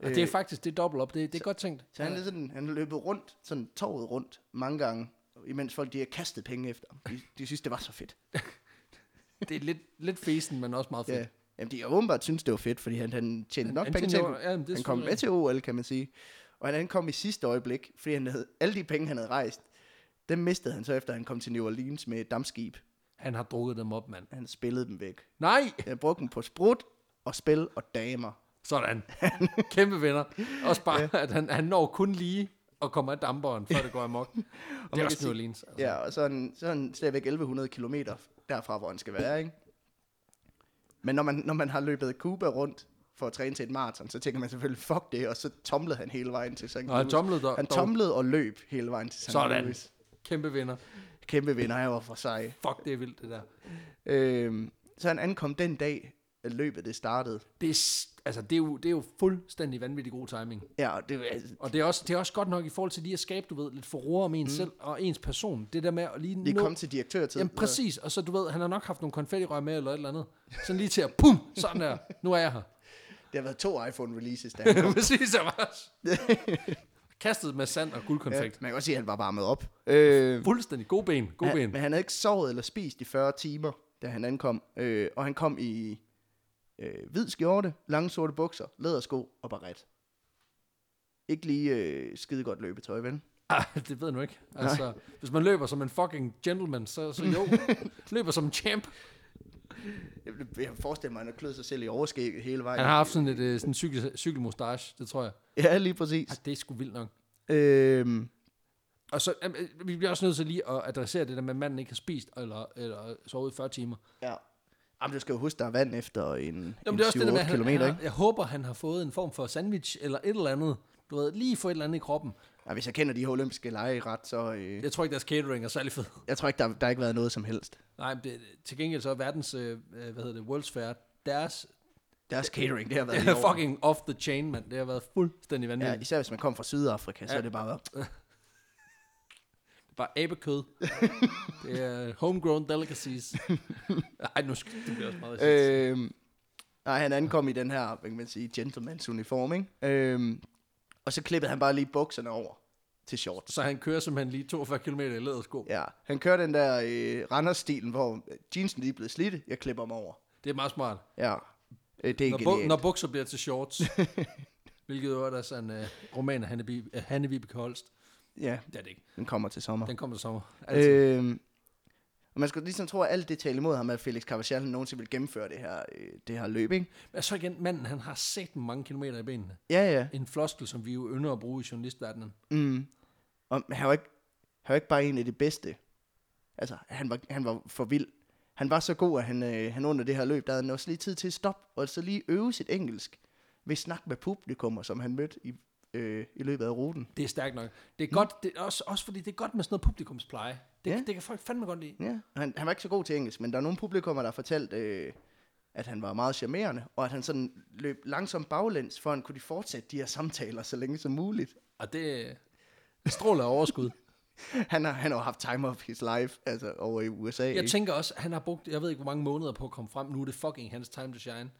Speaker 2: Øh,
Speaker 1: Og det er faktisk, det er dobbelt op. Det, det er godt tænkt.
Speaker 2: Så han, er sådan, han løb rundt, sådan torvet rundt, mange gange, imens folk de har kastet penge efter ham. De, de synes, det var så fedt.
Speaker 1: Det er lidt, lidt fesen, men også meget fedt.
Speaker 2: Ja. Jamen, de har åbenbart synes, det var fedt, fordi han, han tjente nok
Speaker 1: han
Speaker 2: penge til
Speaker 1: tjente
Speaker 2: det.
Speaker 1: jo- ja, men det er
Speaker 2: han kom
Speaker 1: selvfølgelig
Speaker 2: med til OL, kan man sige. Og han ankom i sidste øjeblik, fordi han havde, alle de penge, han havde rejst, dem mistede han så efter, han kom til New Orleans med et dammskib.
Speaker 1: Han har drukket dem op, mand.
Speaker 2: Han spillede dem væk.
Speaker 1: Nej!
Speaker 2: Han brugte dem på sprut og spil og damer.
Speaker 1: Sådan. Kæmpe venner. Også bare, at han, han når kun lige og kommer af damperen, før det går amok. det er
Speaker 2: kan
Speaker 1: også New
Speaker 2: sige-
Speaker 1: Orleans. Altså.
Speaker 2: Ja, og så er han, så er han stadigvæk 1100 km derfra, hvor han skal være, ikke? Men når man, når man har løbet Cuba rundt for at træne til et maraton, så tænker man selvfølgelig, fuck det, og så tomlede han hele vejen til St.
Speaker 1: Og han
Speaker 2: Louis.
Speaker 1: tomlede dog.
Speaker 2: Han tomlede og løb hele vejen til St.
Speaker 1: Sådan.
Speaker 2: Louis.
Speaker 1: Kæmpe vinder.
Speaker 2: Kæmpe vinder, han var for sej.
Speaker 1: Fuck, det er vildt, det der.
Speaker 2: Øhm, så han ankom den dag, at løbet det startede.
Speaker 1: Det er, s- altså, det er, jo, det er jo fuldstændig vanvittig god timing.
Speaker 2: Ja, og det var altså,
Speaker 1: Og det er, også, det er også godt nok i forhold til lige at skabe, du ved, lidt forroer om en mm. selv og ens person. Det der med at lige
Speaker 2: det
Speaker 1: nå...
Speaker 2: kom til direktørtid.
Speaker 1: Jamen præcis, og så du ved, han har nok haft nogle konfettirør med eller et eller andet. Sådan lige til at, pum, sådan der, nu er jeg her.
Speaker 2: Det har været to iPhone-releases, der han kom.
Speaker 1: præcis, jeg var kastet med sand og guldkonfekt.
Speaker 2: Man kan også sige, at han var varmet op. Øh,
Speaker 1: Fuldstændig god ben, god
Speaker 2: han,
Speaker 1: ben.
Speaker 2: men han havde ikke sovet eller spist i 40 timer, da han ankom. Øh, og han kom i øh, hvid skjorte, lange sorte bukser, lædersko og baret. Ikke lige øh, skide godt løbetøj, vel?
Speaker 1: Ah, det ved jeg nu ikke. Altså, hvis man løber som en fucking gentleman, så, så jo. løber som en champ.
Speaker 2: Jeg, jeg forestiller mig, at han har kløet sig selv i overskægget hele vejen.
Speaker 1: Han har haft sådan et øh, sådan cykel, cykelmustache, det tror jeg.
Speaker 2: Ja, lige præcis.
Speaker 1: Ah, det er sgu vildt nok.
Speaker 2: Øhm,
Speaker 1: Og så, jamen, øh, vi bliver også nødt til lige at adressere det der med, at manden ikke har spist eller, eller sovet i 40 timer.
Speaker 2: ja. Jamen, du skal jo huske, der er vand efter en,
Speaker 1: Jamen,
Speaker 2: en
Speaker 1: det er også det der med, at
Speaker 2: 7-8
Speaker 1: han,
Speaker 2: kilometer,
Speaker 1: han
Speaker 2: ikke?
Speaker 1: har, jeg håber, han har fået en form for sandwich eller et eller andet. Du ved, lige få et eller andet i kroppen.
Speaker 2: Ja, hvis jeg kender de her olympiske lege ret, så øh,
Speaker 1: Jeg tror ikke, deres catering er særlig fed.
Speaker 2: jeg tror ikke, der, der har ikke været noget som helst.
Speaker 1: Nej, men det, til gengæld så er verdens, øh, øh, hvad hedder det, World's Fair, deres,
Speaker 2: Deres catering, det har været
Speaker 1: det
Speaker 2: i
Speaker 1: er
Speaker 2: orden.
Speaker 1: fucking off the chain, mand. Det har været fuldstændig
Speaker 2: Ja,
Speaker 1: vanvittigt. Ja.
Speaker 2: især hvis man kom fra Sydafrika, så
Speaker 1: Ja.
Speaker 2: er det bare været,
Speaker 1: Bare abekød. det er homegrown delicacies. Ej, nu skal det bliver også meget øh,
Speaker 2: Øhm, nej, han ankom i den her, hvad kan man sige, gentleman's uniform, ikke? Øhm, og så klippede han bare lige bukserne over til shorts.
Speaker 1: Så han kører simpelthen lige 42 km i lædersko. Ja.
Speaker 2: Ja, han kører den der øh, Randers-stilen, hvor jeansen lige er blevet slidt, jeg klipper dem over.
Speaker 1: Det er meget smart.
Speaker 2: Ja. Øh, det er
Speaker 1: Når, bu-
Speaker 2: genialt.
Speaker 1: når bukser bliver til shorts. hvilket jo er sådan en uh, roman af Hanne, Bi- af Hanne Vibeke Holst.
Speaker 2: Ja,
Speaker 1: Det er det ikke.
Speaker 2: den kommer til sommer.
Speaker 1: Den kommer til sommer. Altså, øh,
Speaker 2: Øhm, og man skulle ligesom tro, at alt det taler imod ham, at Felix Carvajal nogensinde vil gennemføre det her, øh, det her løb, ikke?
Speaker 1: men så igen, manden, han har set mange kilometer i benene.
Speaker 2: Ja, ja.
Speaker 1: En floskel, som vi jo ynder at bruge i journalistverdenen.
Speaker 2: Mm. Og han var, ikke, han var ikke bare en af de bedste. Altså, han var, han var for vild. Han var så god, at han, øh, han under det her løb, der havde han også lige tid til at stoppe, og så lige øve sit engelsk ved snak med publikummer, som han mødte i, øh, i løbet af ruten.
Speaker 1: Det er stærkt nok. Det er godt, det er også, også fordi det er godt med sådan noget publikumspleje. Det,
Speaker 2: Ja.
Speaker 1: ja. det kan folk fandme godt lide.
Speaker 2: Ja, han, han var ikke så god til engelsk, men der er nogle publikummer, der har fortalt, øh, at han var meget charmerende, og at han sådan løb langsomt baglæns, for at han kunne de fortsætte de her samtaler så længe som muligt.
Speaker 1: Og det øh, stråler af overskud.
Speaker 2: Han har, han har jo haft time of his life, altså over i USA.
Speaker 1: Jeg
Speaker 2: ikke?
Speaker 1: tænker også, han har brugt, jeg ved ikke hvor mange måneder på at komme frem. Nu er det fucking hans time to shine.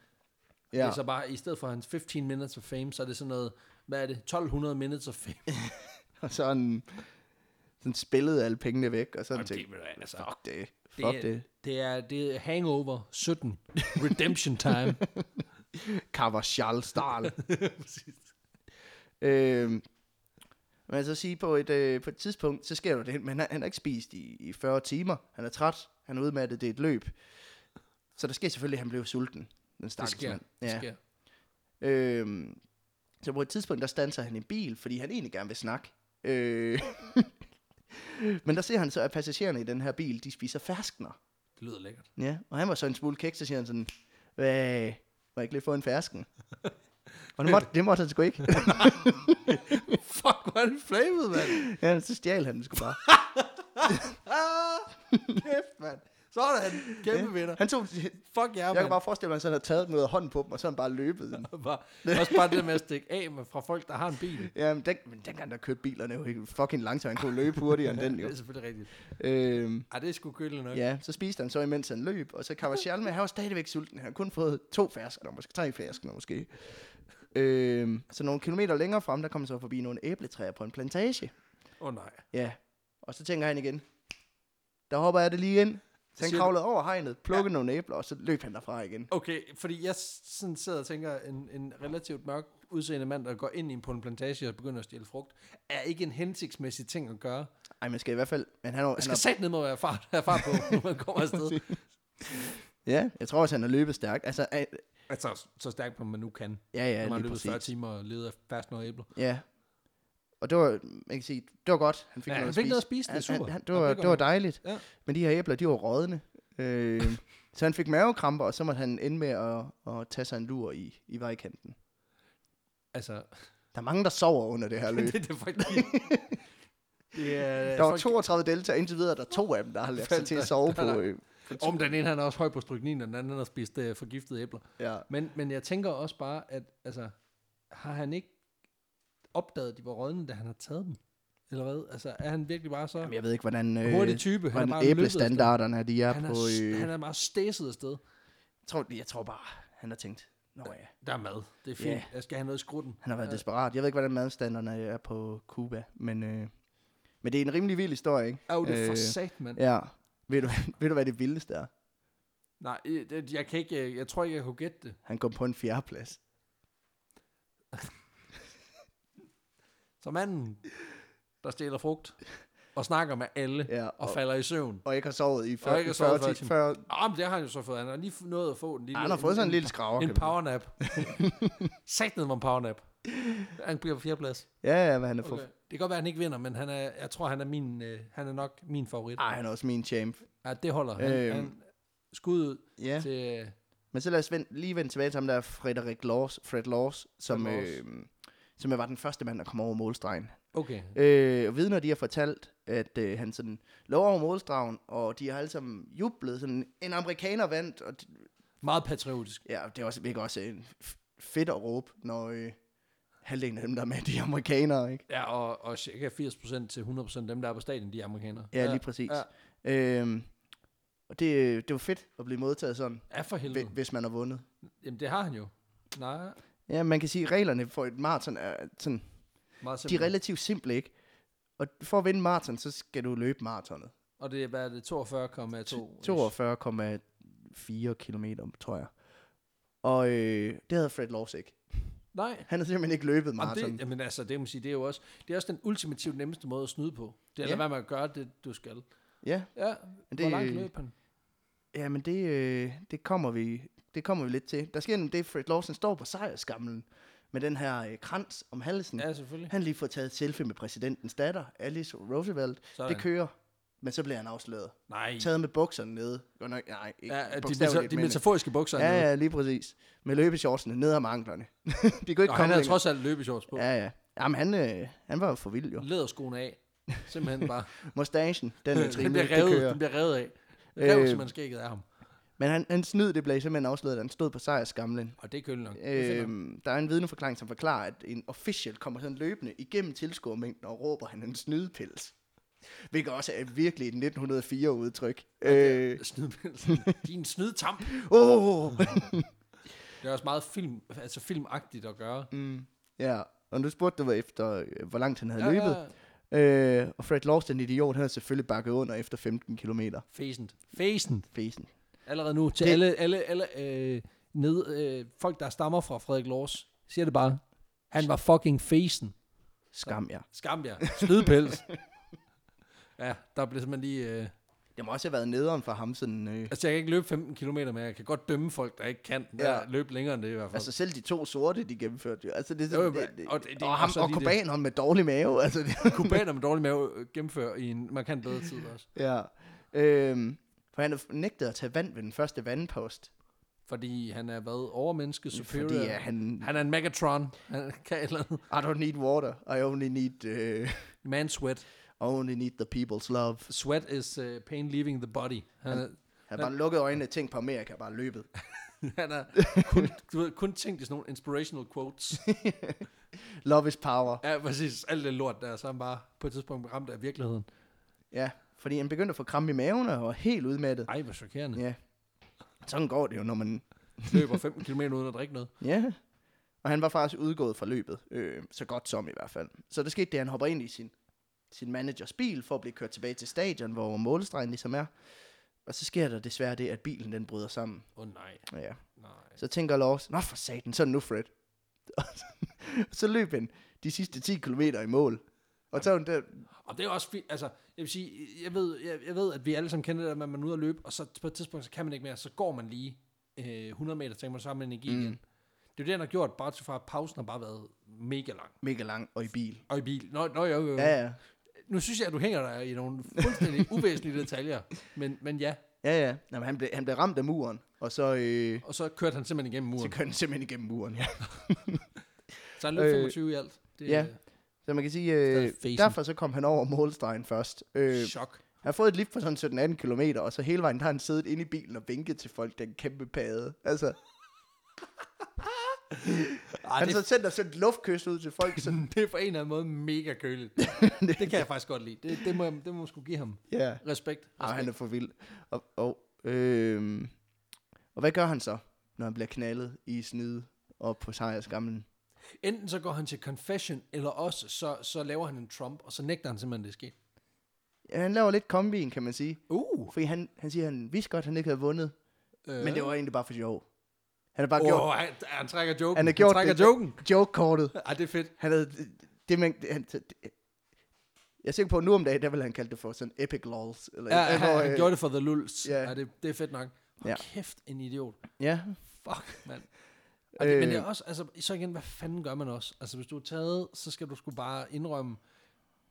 Speaker 1: Ja. Det er så bare, i stedet for hans 15 minutes of fame, så er det sådan noget, hvad er det, 1200 minutes of fame.
Speaker 2: Og sådan, sådan spillede alle pengene væk, og sådan
Speaker 1: Jamen,
Speaker 2: tænkte,
Speaker 1: det, altså,
Speaker 2: fuck det,
Speaker 1: det,
Speaker 2: fuck
Speaker 1: er-
Speaker 2: det.
Speaker 1: det, er, det er hangover 17, redemption time.
Speaker 2: Carvajal style. øhm, man så sige, på et, øh, på et tidspunkt, så sker der det, men han, han har ikke spist i, i 40 timer. Han er træt, han er udmattet, det er et løb. Så der sker selvfølgelig, at han blev sulten. Den
Speaker 1: det
Speaker 2: stakkels
Speaker 1: sker,
Speaker 2: mand.
Speaker 1: det sker.
Speaker 2: Øhm, så på et tidspunkt, der standser han i en bil, fordi han egentlig gerne vil snakke. Øh, men der ser han så, at passagererne i den her bil, de spiser ferskner.
Speaker 1: Det lyder lækkert.
Speaker 2: Ja, og han var så en smule kæk, så siger han sådan, hvad, må jeg ikke lige få en fersken? og det måtte, det måtte han sgu ikke.
Speaker 1: Fuck, hvor er det flamet, mand.
Speaker 2: ja, så stjal han den sgu bare.
Speaker 1: Ah, kæft, mand. Sådan, kæmpe vinder.
Speaker 2: Han tog,
Speaker 1: Fuck jer,
Speaker 2: jeg kan
Speaker 1: mand.
Speaker 2: bare forestille mig, at han havde taget den ud af hånden på dem, og så han bare løbet. den.
Speaker 1: Bare, også bare det med at stikke af med, fra folk, der har en bil.
Speaker 2: Ja, men, den, men dengang der kørte bilerne jo ikke fucking langt, så han kunne løbe hurtigere end den
Speaker 1: Det
Speaker 2: jo.
Speaker 1: er selvfølgelig rigtigt.
Speaker 2: Øhm,
Speaker 1: Ej, det er sgu køligt nok.
Speaker 2: ja, så spiste han så imens han løb, og så Kavachal med, han var stadigvæk sulten. Han havde kun fået to ferskner, måske tre ferskner måske. Øhm, så nogle kilometer længere frem, der kom han så forbi nogle æbletræer på en plantage.
Speaker 1: Åh oh, nej.
Speaker 2: Ja, og så tænker han igen, der hopper jeg det lige ind. Så han
Speaker 1: Siger du-
Speaker 2: kravlede over hegnet, plukkede ja. nogle æbler, og så løb han derfra igen.
Speaker 1: Okay, fordi jeg s- sådan sidder og tænker, en, en relativt mørk udseende mand, der går ind i en, på en plantage og begynder at stjæle frugt, er ikke en hensigtsmæssig ting at gøre.
Speaker 2: Ej, man skal i hvert fald... Men han, har,
Speaker 1: Man
Speaker 2: han
Speaker 1: skal
Speaker 2: har,
Speaker 1: sat ned med at være fart, have fart på, når man kommer afsted.
Speaker 2: ja, jeg tror også, han har løbet stærkt. Altså, øh,
Speaker 1: altså, så stærkt, som man nu kan.
Speaker 2: ja, ja,
Speaker 1: når man har
Speaker 2: lige
Speaker 1: løbet 40
Speaker 2: præcis.
Speaker 1: timer og levet af fast noget æbler.
Speaker 2: Ja. Og det var, man kan sige, det var godt. Han fik,
Speaker 1: Ja,
Speaker 2: noget,
Speaker 1: han
Speaker 2: at
Speaker 1: fik
Speaker 2: spise.
Speaker 1: noget at spise, det er
Speaker 2: Han,
Speaker 1: super.
Speaker 2: han, han, det,
Speaker 1: Ja,
Speaker 2: var,
Speaker 1: det er
Speaker 2: det,
Speaker 1: godt
Speaker 2: var
Speaker 1: nok.
Speaker 2: dejligt.
Speaker 1: Ja.
Speaker 2: Ja. Men de her æbler, de var rådne. Øh, så han fik mavekramper, og så måtte han ende med at, at tage sig en lur i, i vejkanten.
Speaker 1: Altså,
Speaker 2: Der er mange, der sover under det her løb.
Speaker 1: det, det er faktisk... Det er,
Speaker 2: Der var
Speaker 1: folk-
Speaker 2: 32 deltagere indtil videre, der er to af dem, der har lagt sig til at sove på. Øh,
Speaker 1: Om den ene, han er også høj på stryknin, og den anden han har spist øh, forgiftede æbler.
Speaker 2: ja.
Speaker 1: Men, men jeg tænker også bare, at altså, har han ikke opdaget, at de var rådne, da han har taget dem? Eller hvad? Altså, er han virkelig bare så
Speaker 2: Jamen, jeg ved ikke, hvordan, øh,
Speaker 1: hurtig type? Han er
Speaker 2: hvordan
Speaker 1: bare løbet afsted.
Speaker 2: æblestandarderne er, de er,
Speaker 1: Han
Speaker 2: på...
Speaker 1: er,
Speaker 2: Øh,
Speaker 1: øh... han er meget stæset afsted.
Speaker 2: jeg, tror, jeg tror bare, han har tænkt, nå ja,
Speaker 1: Der er mad. Det er fint.
Speaker 2: Ja.
Speaker 1: Jeg skal have noget i skrutten.
Speaker 2: han har været
Speaker 1: Ja.
Speaker 2: desperat. Jeg ved ikke, hvordan madstanderne er på Cuba, men, øh, men det er en rimelig vild historie, ikke?
Speaker 1: Au, det er for
Speaker 2: Øh,
Speaker 1: sat, mand.
Speaker 2: Ja. Ved du, ved du, hvad det vildeste er?
Speaker 1: Nej, øh, det- jeg, kan ikke, øh, jeg tror ikke, jeg kunne gætte det.
Speaker 2: Han kom på en fjerdeplads.
Speaker 1: Så manden, der stjæler frugt og snakker med alle
Speaker 2: Ja,
Speaker 1: og
Speaker 2: og,
Speaker 1: falder i søvn.
Speaker 2: og ikke har sovet i 40,
Speaker 1: Og ikke har sovet i 40
Speaker 2: 40, 40,
Speaker 1: Åh, men det har han jo så fået. Han har lige f- nået at få den lille...
Speaker 2: Ej, han har fået sig en lille skraver. kan
Speaker 1: En
Speaker 2: man sige.
Speaker 1: powernap. Sagt ned om en powernap. Han bliver på fjerdeplads.
Speaker 2: Ja, ja, men han er for...
Speaker 1: Okay. Det kan godt være, at han ikke vinder, men han er, jeg tror, han er, min, øh, han er nok min favorit.
Speaker 2: Ej, han er også min champ.
Speaker 1: Ja, det holder. Han,
Speaker 2: Øhm.
Speaker 1: han skud ud
Speaker 2: Ja.
Speaker 1: til... Øh,
Speaker 2: Men så lad os vend, lige vende tilbage til ham der Frederik Laws, Fred Laws, som,
Speaker 1: Fred
Speaker 2: Fred
Speaker 1: Laws.
Speaker 2: Øh, som var den første mand, der kom over målstregen.
Speaker 1: okay.
Speaker 2: Øh, og vidner, de har fortalt, at øh, han sådan lå over målstregen, og de har alle sammen jublet, sådan en amerikaner vandt, og de,
Speaker 1: Meget patriotisk.
Speaker 2: ja, det er også, virkelig også øh, f- fedt at råbe, når øh, halvdelen af dem, der er med, de er amerikanere, ikke?
Speaker 1: Ja, og, og cirka 80% til 100% dem, der er på stadion, de er amerikanere.
Speaker 2: Ja, lige præcis.
Speaker 1: Ja,
Speaker 2: Ja. Øh, og det, øh, det var fedt at blive modtaget sådan,
Speaker 1: ja for helvede.
Speaker 2: hvi- hvis man har vundet.
Speaker 1: Jamen, det har han jo. Nej,
Speaker 2: Ja, man kan sige, at reglerne for et maraton er sådan,
Speaker 1: meget
Speaker 2: de
Speaker 1: simpelt.
Speaker 2: er relativt simple, ikke? Og for at vinde maraton, så skal du løbe maratonet.
Speaker 1: og det er, hvad er det, 42,2?
Speaker 2: 42,4 km, tror jeg. Og øh, det havde Fred Laws ikke.
Speaker 1: Nej.
Speaker 2: Han havde simpelthen ikke løbet
Speaker 1: Jamen,
Speaker 2: maraton.
Speaker 1: det, jamen altså, det, må sige, det er jo også, det er også den ultimativt nemmeste måde at snyde på. Det er
Speaker 2: Ja.
Speaker 1: at lade være med at gøre det, du skal.
Speaker 2: Ja,
Speaker 1: Ja,
Speaker 2: men
Speaker 1: hvor
Speaker 2: det,
Speaker 1: langt
Speaker 2: øh,
Speaker 1: løb han?
Speaker 2: ja, men det, øh, det, kommer vi, det kommer vi lidt til. Der sker nemlig det, at Fred Lawson står på sejrskamlen med den her øh, krans om halsen.
Speaker 1: Ja, selvfølgelig.
Speaker 2: Han har lige fået taget et selfie med præsidentens datter, Alice Roosevelt.
Speaker 1: Sådan.
Speaker 2: Det kører, men så bliver han afsløret.
Speaker 1: Nej.
Speaker 2: Taget med bukserne nede. Godt nok, nej, ikke
Speaker 1: Ja, de,
Speaker 2: bogstaveligt,
Speaker 1: meta- de
Speaker 2: men-
Speaker 1: metaforiske bukser.
Speaker 2: Ja,
Speaker 1: han havde.
Speaker 2: ja, lige præcis. Med løbeshortsene ned om anklerne. de kunne ikke
Speaker 1: Nå, han
Speaker 2: komme
Speaker 1: havde
Speaker 2: længere.
Speaker 1: trods alt løbeshorts på.
Speaker 2: Ja, ja. Jamen, han, øh, han var jo for vild, jo.
Speaker 1: Læderskoene af. Simpelthen bare.
Speaker 2: Mustachen, den er
Speaker 1: den,
Speaker 2: trimmet,
Speaker 1: bliver
Speaker 2: det
Speaker 1: revet,
Speaker 2: kører.
Speaker 1: den bliver revet af. Rev, øh,
Speaker 2: Øh,
Speaker 1: simpelthen skægget af ham.
Speaker 2: Men han, han snyd, det blev simpelthen afsløret, da han stod på sejrskamlen.
Speaker 1: Og det er kølen nok. Det finder han.
Speaker 2: Øhm, der er en vidneforklaring, som forklarer, at en official kommer sådan løbende igennem tilskuermængden og råber, han er en snydepils. Hvilket også er virkelig et 1904-udtryk. Øh,
Speaker 1: Snydpelsen. Din snydtamp.
Speaker 2: oh!
Speaker 1: Det er også meget film, altså filmagtigt at gøre.
Speaker 2: mm, ja, og nu spurgte du efter, øh, hvor langt han havde løbet.
Speaker 1: Ja,
Speaker 2: Øh, og Fred Laws, den idiot, han har selvfølgelig bakket under efter 15 km.
Speaker 1: Fæsent. Fæsent.
Speaker 2: Fesen.
Speaker 1: Allerede nu til
Speaker 2: Det-
Speaker 1: alle, alle, alle øh, ned, øh, folk, der stammer fra Frederik Lors, siger det bare. Han var fucking fæsen.
Speaker 2: Skam jer.
Speaker 1: Skam jer. Snydpels. ja, der blev simpelthen lige... Øh,
Speaker 2: Det må også have været nederen for ham sådan... Øh,
Speaker 1: altså, jeg kan ikke løbe 15 km, men jeg kan godt dømme folk, der ikke kan ja.
Speaker 2: Ja.
Speaker 1: løbe længere end det i hvert fald.
Speaker 2: altså selv de to sorte, de gennemførte jo. Altså det er sådan...
Speaker 1: Jo,
Speaker 2: Jo, det,
Speaker 1: men-
Speaker 2: det,
Speaker 1: og
Speaker 2: og,
Speaker 1: det- det-
Speaker 2: det, og,
Speaker 1: og
Speaker 2: ham,
Speaker 1: så
Speaker 2: og
Speaker 1: de der-
Speaker 2: kubaneren med dårlig mave. Altså det,
Speaker 1: kubaner med dårlig mave øh, gennemfører i en markant bedre tid også.
Speaker 2: ja. Øhm, for han nægtede at tage vand ved den første vandpost.
Speaker 1: Fordi han er hvad? Overmenneske, superior?
Speaker 2: Fordi ja, han...
Speaker 1: Han er en Megatron. Han kan et eller andet.
Speaker 2: I don't need water. I only need... Uh,
Speaker 1: Man sweat.
Speaker 2: only need the people's love.
Speaker 1: Sweat is uh, pain leaving the body. Han, er,
Speaker 2: Han har bare lukket øjnene og tænkt på Amerika, bare løbet.
Speaker 1: han er kun, du ved, kun tænkt i sådan nogle inspirational quotes.
Speaker 2: Love is power.
Speaker 1: Ja, præcis. Alt det lort der, så er han bare på et tidspunkt ramt af virkeligheden.
Speaker 2: Ja, fordi han begyndte at få krampe i maven og var helt udmattet.
Speaker 1: Ej, hvor chokerende.
Speaker 2: Ja. Sådan går det jo, når man...
Speaker 1: Løber 15 km uden at drikke noget.
Speaker 2: Ja. Og han var faktisk udgået fra løbet. Øh, så godt som i hvert fald. Så der skete det, at han hopper ind i sin, sin managers bil for at blive kørt tilbage til stadion, hvor målestregen ligesom er. Og så sker der desværre det, at bilen den bryder sammen.
Speaker 1: Åh oh, nej,
Speaker 2: Ja.
Speaker 1: nej.
Speaker 2: Så tænker Lars, nå for satan, sådan nu Fred. Og så- så løb han de sidste 10 km i mål. Og så er hun der,
Speaker 1: Og det er også fint, altså, jeg vil sige, jeg ved, jeg, jeg ved, at vi alle sammen kender det, at man man er ude at løbe, og så på et tidspunkt, så kan man ikke mere, så går man lige øh, 100 meter, tænker man, så har man energi mm. igen. Det er jo det, han har gjort, bare til fra, at pausen har bare været mega lang.
Speaker 2: mega lang og i bil.
Speaker 1: Og i bil. Nå, nå jo, jo.
Speaker 2: Ja, ja.
Speaker 1: Nu synes jeg, at du hænger dig i nogle fuldstændig uvæsentlige detaljer, men, men ja.
Speaker 2: Ja, ja. Jamen, han, blev, han blev ramt af muren, og så, øh,
Speaker 1: Og så kørte han simpelthen igennem
Speaker 2: så
Speaker 1: muren.
Speaker 2: kørte han simpelthen igennem muren, ja.
Speaker 1: Så han løb
Speaker 2: Øh,
Speaker 1: 25 i alt. Det
Speaker 2: ja.
Speaker 1: er
Speaker 2: Så man kan sige, øh,
Speaker 1: Stadig fesen.
Speaker 2: derfor så kom han over målstregen først. Øh,
Speaker 1: øh, chok.
Speaker 2: han har fået et lift på sådan 17-18 km, og så hele vejen der har han siddet inde i bilen og vinket til folk, den kæmpe pade. Altså,
Speaker 1: Ej,
Speaker 2: han
Speaker 1: det,
Speaker 2: har så sendt og sendt luftkys ud til folk. Så,
Speaker 1: det er på en eller anden måde mega køligt. det kan jeg faktisk godt lide. Det, det, må, jeg- det må man skulle give ham.
Speaker 2: ja,
Speaker 1: Respekt.
Speaker 2: Arh, han er for vild. Og, og, øh, og hvad gør han så, når han bliver knaldet i snide og på sejrskamlen?
Speaker 1: Enten så går han til confession, eller også så, så laver han en Trump, og så nægter han simpelthen, det er sket.
Speaker 2: Ja, han laver lidt kombin, kan man sige.
Speaker 1: Uh!
Speaker 2: Fordi han, han siger, at han vidste godt, at han ikke havde vundet,
Speaker 1: Øh.
Speaker 2: men det var egentlig bare for sjov. Han har bare
Speaker 1: oh,
Speaker 2: gjort
Speaker 1: gjort. Han, han trækker joken.
Speaker 2: Han
Speaker 1: Han,
Speaker 2: har gjort
Speaker 1: trækker
Speaker 2: det.
Speaker 1: joken.
Speaker 2: joke-kortet.
Speaker 1: Ej, det er fedt.
Speaker 2: Han havde, det, man, det, han, det, jeg er sikker på, at nu om dagen, der ville han kalde det for sådan epic lols. Eller,
Speaker 1: Ja,
Speaker 2: eller,
Speaker 1: han, han
Speaker 2: øh,
Speaker 1: gjorde det for The Lulz.
Speaker 2: ja.
Speaker 1: Yeah. Ja, det, det er fedt nok. Hvor
Speaker 2: Ja.
Speaker 1: ja. kæft, en idiot.
Speaker 2: øh, Ja,
Speaker 1: Fuck, mand. Og det, men det er
Speaker 2: Øh.
Speaker 1: også, altså, så igen, hvad fanden gør man også? Altså, hvis du er taget, så skal du sgu bare indrømme.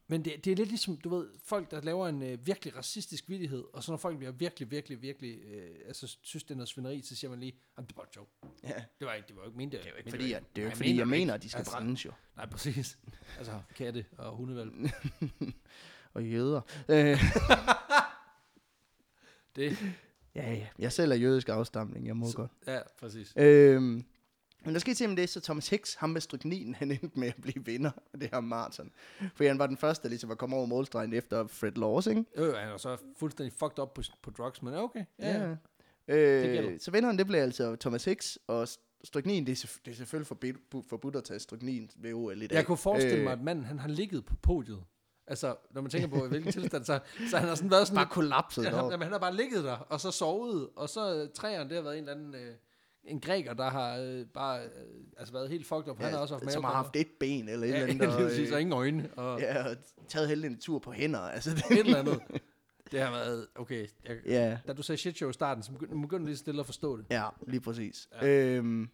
Speaker 1: Men det, det er lidt ligesom, du ved, folk, der laver en øh, virkelig racistisk vidighed, og så når folk bliver virkelig, virkelig, virkelig, øh, altså, synes det er noget svineri, så siger man lige, jamen, det var bare et joke.
Speaker 2: ja.
Speaker 1: Det var ikke, det var jo ikke ment. Det er jo ikke,
Speaker 2: Fordi, at, det er jo
Speaker 1: Nej,
Speaker 2: ikke, fordi jeg
Speaker 1: du ikke.
Speaker 2: mener, at de skal
Speaker 1: altså,
Speaker 2: brændes jo.
Speaker 1: Nej, præcis. Altså, katte og hundevalg.
Speaker 2: Og jøder. Øh,
Speaker 1: Det,
Speaker 2: ja, ja. Jeg selv er jødisk afstamning, jeg må godt.
Speaker 1: ja, præcis.
Speaker 2: Øhm, men der skete simpelthen det, så Thomas Hicks, ham med strykninen, han endte med at blive vinder af det her maraton. Fordi han var den første, der ligesom var kommet over målstregen efter Fred Laws, ikke?
Speaker 1: Jo, jo, han er så fuldstændig fucked op på, på drugs, men okay. Ja, ja.
Speaker 2: Ja.
Speaker 1: gælder.
Speaker 2: Øh, så vinderen, det blev altså Thomas Hicks, og st- stryknin, det er, selvf- det er selvfølgelig forbudt, forbudt at tage stryknin ved OL i dag. Øh,
Speaker 1: Jeg kunne forestille mig, at manden, han har ligget på podiet. Altså, når man tænker på, i hvilken tilstand, så, så han har sådan været sådan...
Speaker 2: Bare kollapset
Speaker 1: Ja, han,
Speaker 2: ja,
Speaker 1: jamen, han har bare ligget der, og så sovet, og så øh, træerne, det har været en eller anden øh, en græker, der har øh, bare øh, altså været helt fucked up. Ja, han har også haft
Speaker 2: som har haft et ben eller et
Speaker 1: ja,
Speaker 2: eller
Speaker 1: lige
Speaker 2: andet.
Speaker 1: præcis, og
Speaker 2: og, øh,
Speaker 1: ingen øjne. Og,
Speaker 2: ja, og taget hele en tur på hænder. Altså, det,
Speaker 1: et eller andet. Det har været, okay, jeg,
Speaker 2: ja,
Speaker 1: da du sagde shit show i starten, så begyndte, begyndte du lige så stille at forstå det.
Speaker 2: ja, lige præcis.
Speaker 1: Ja.
Speaker 2: Ja, øhm,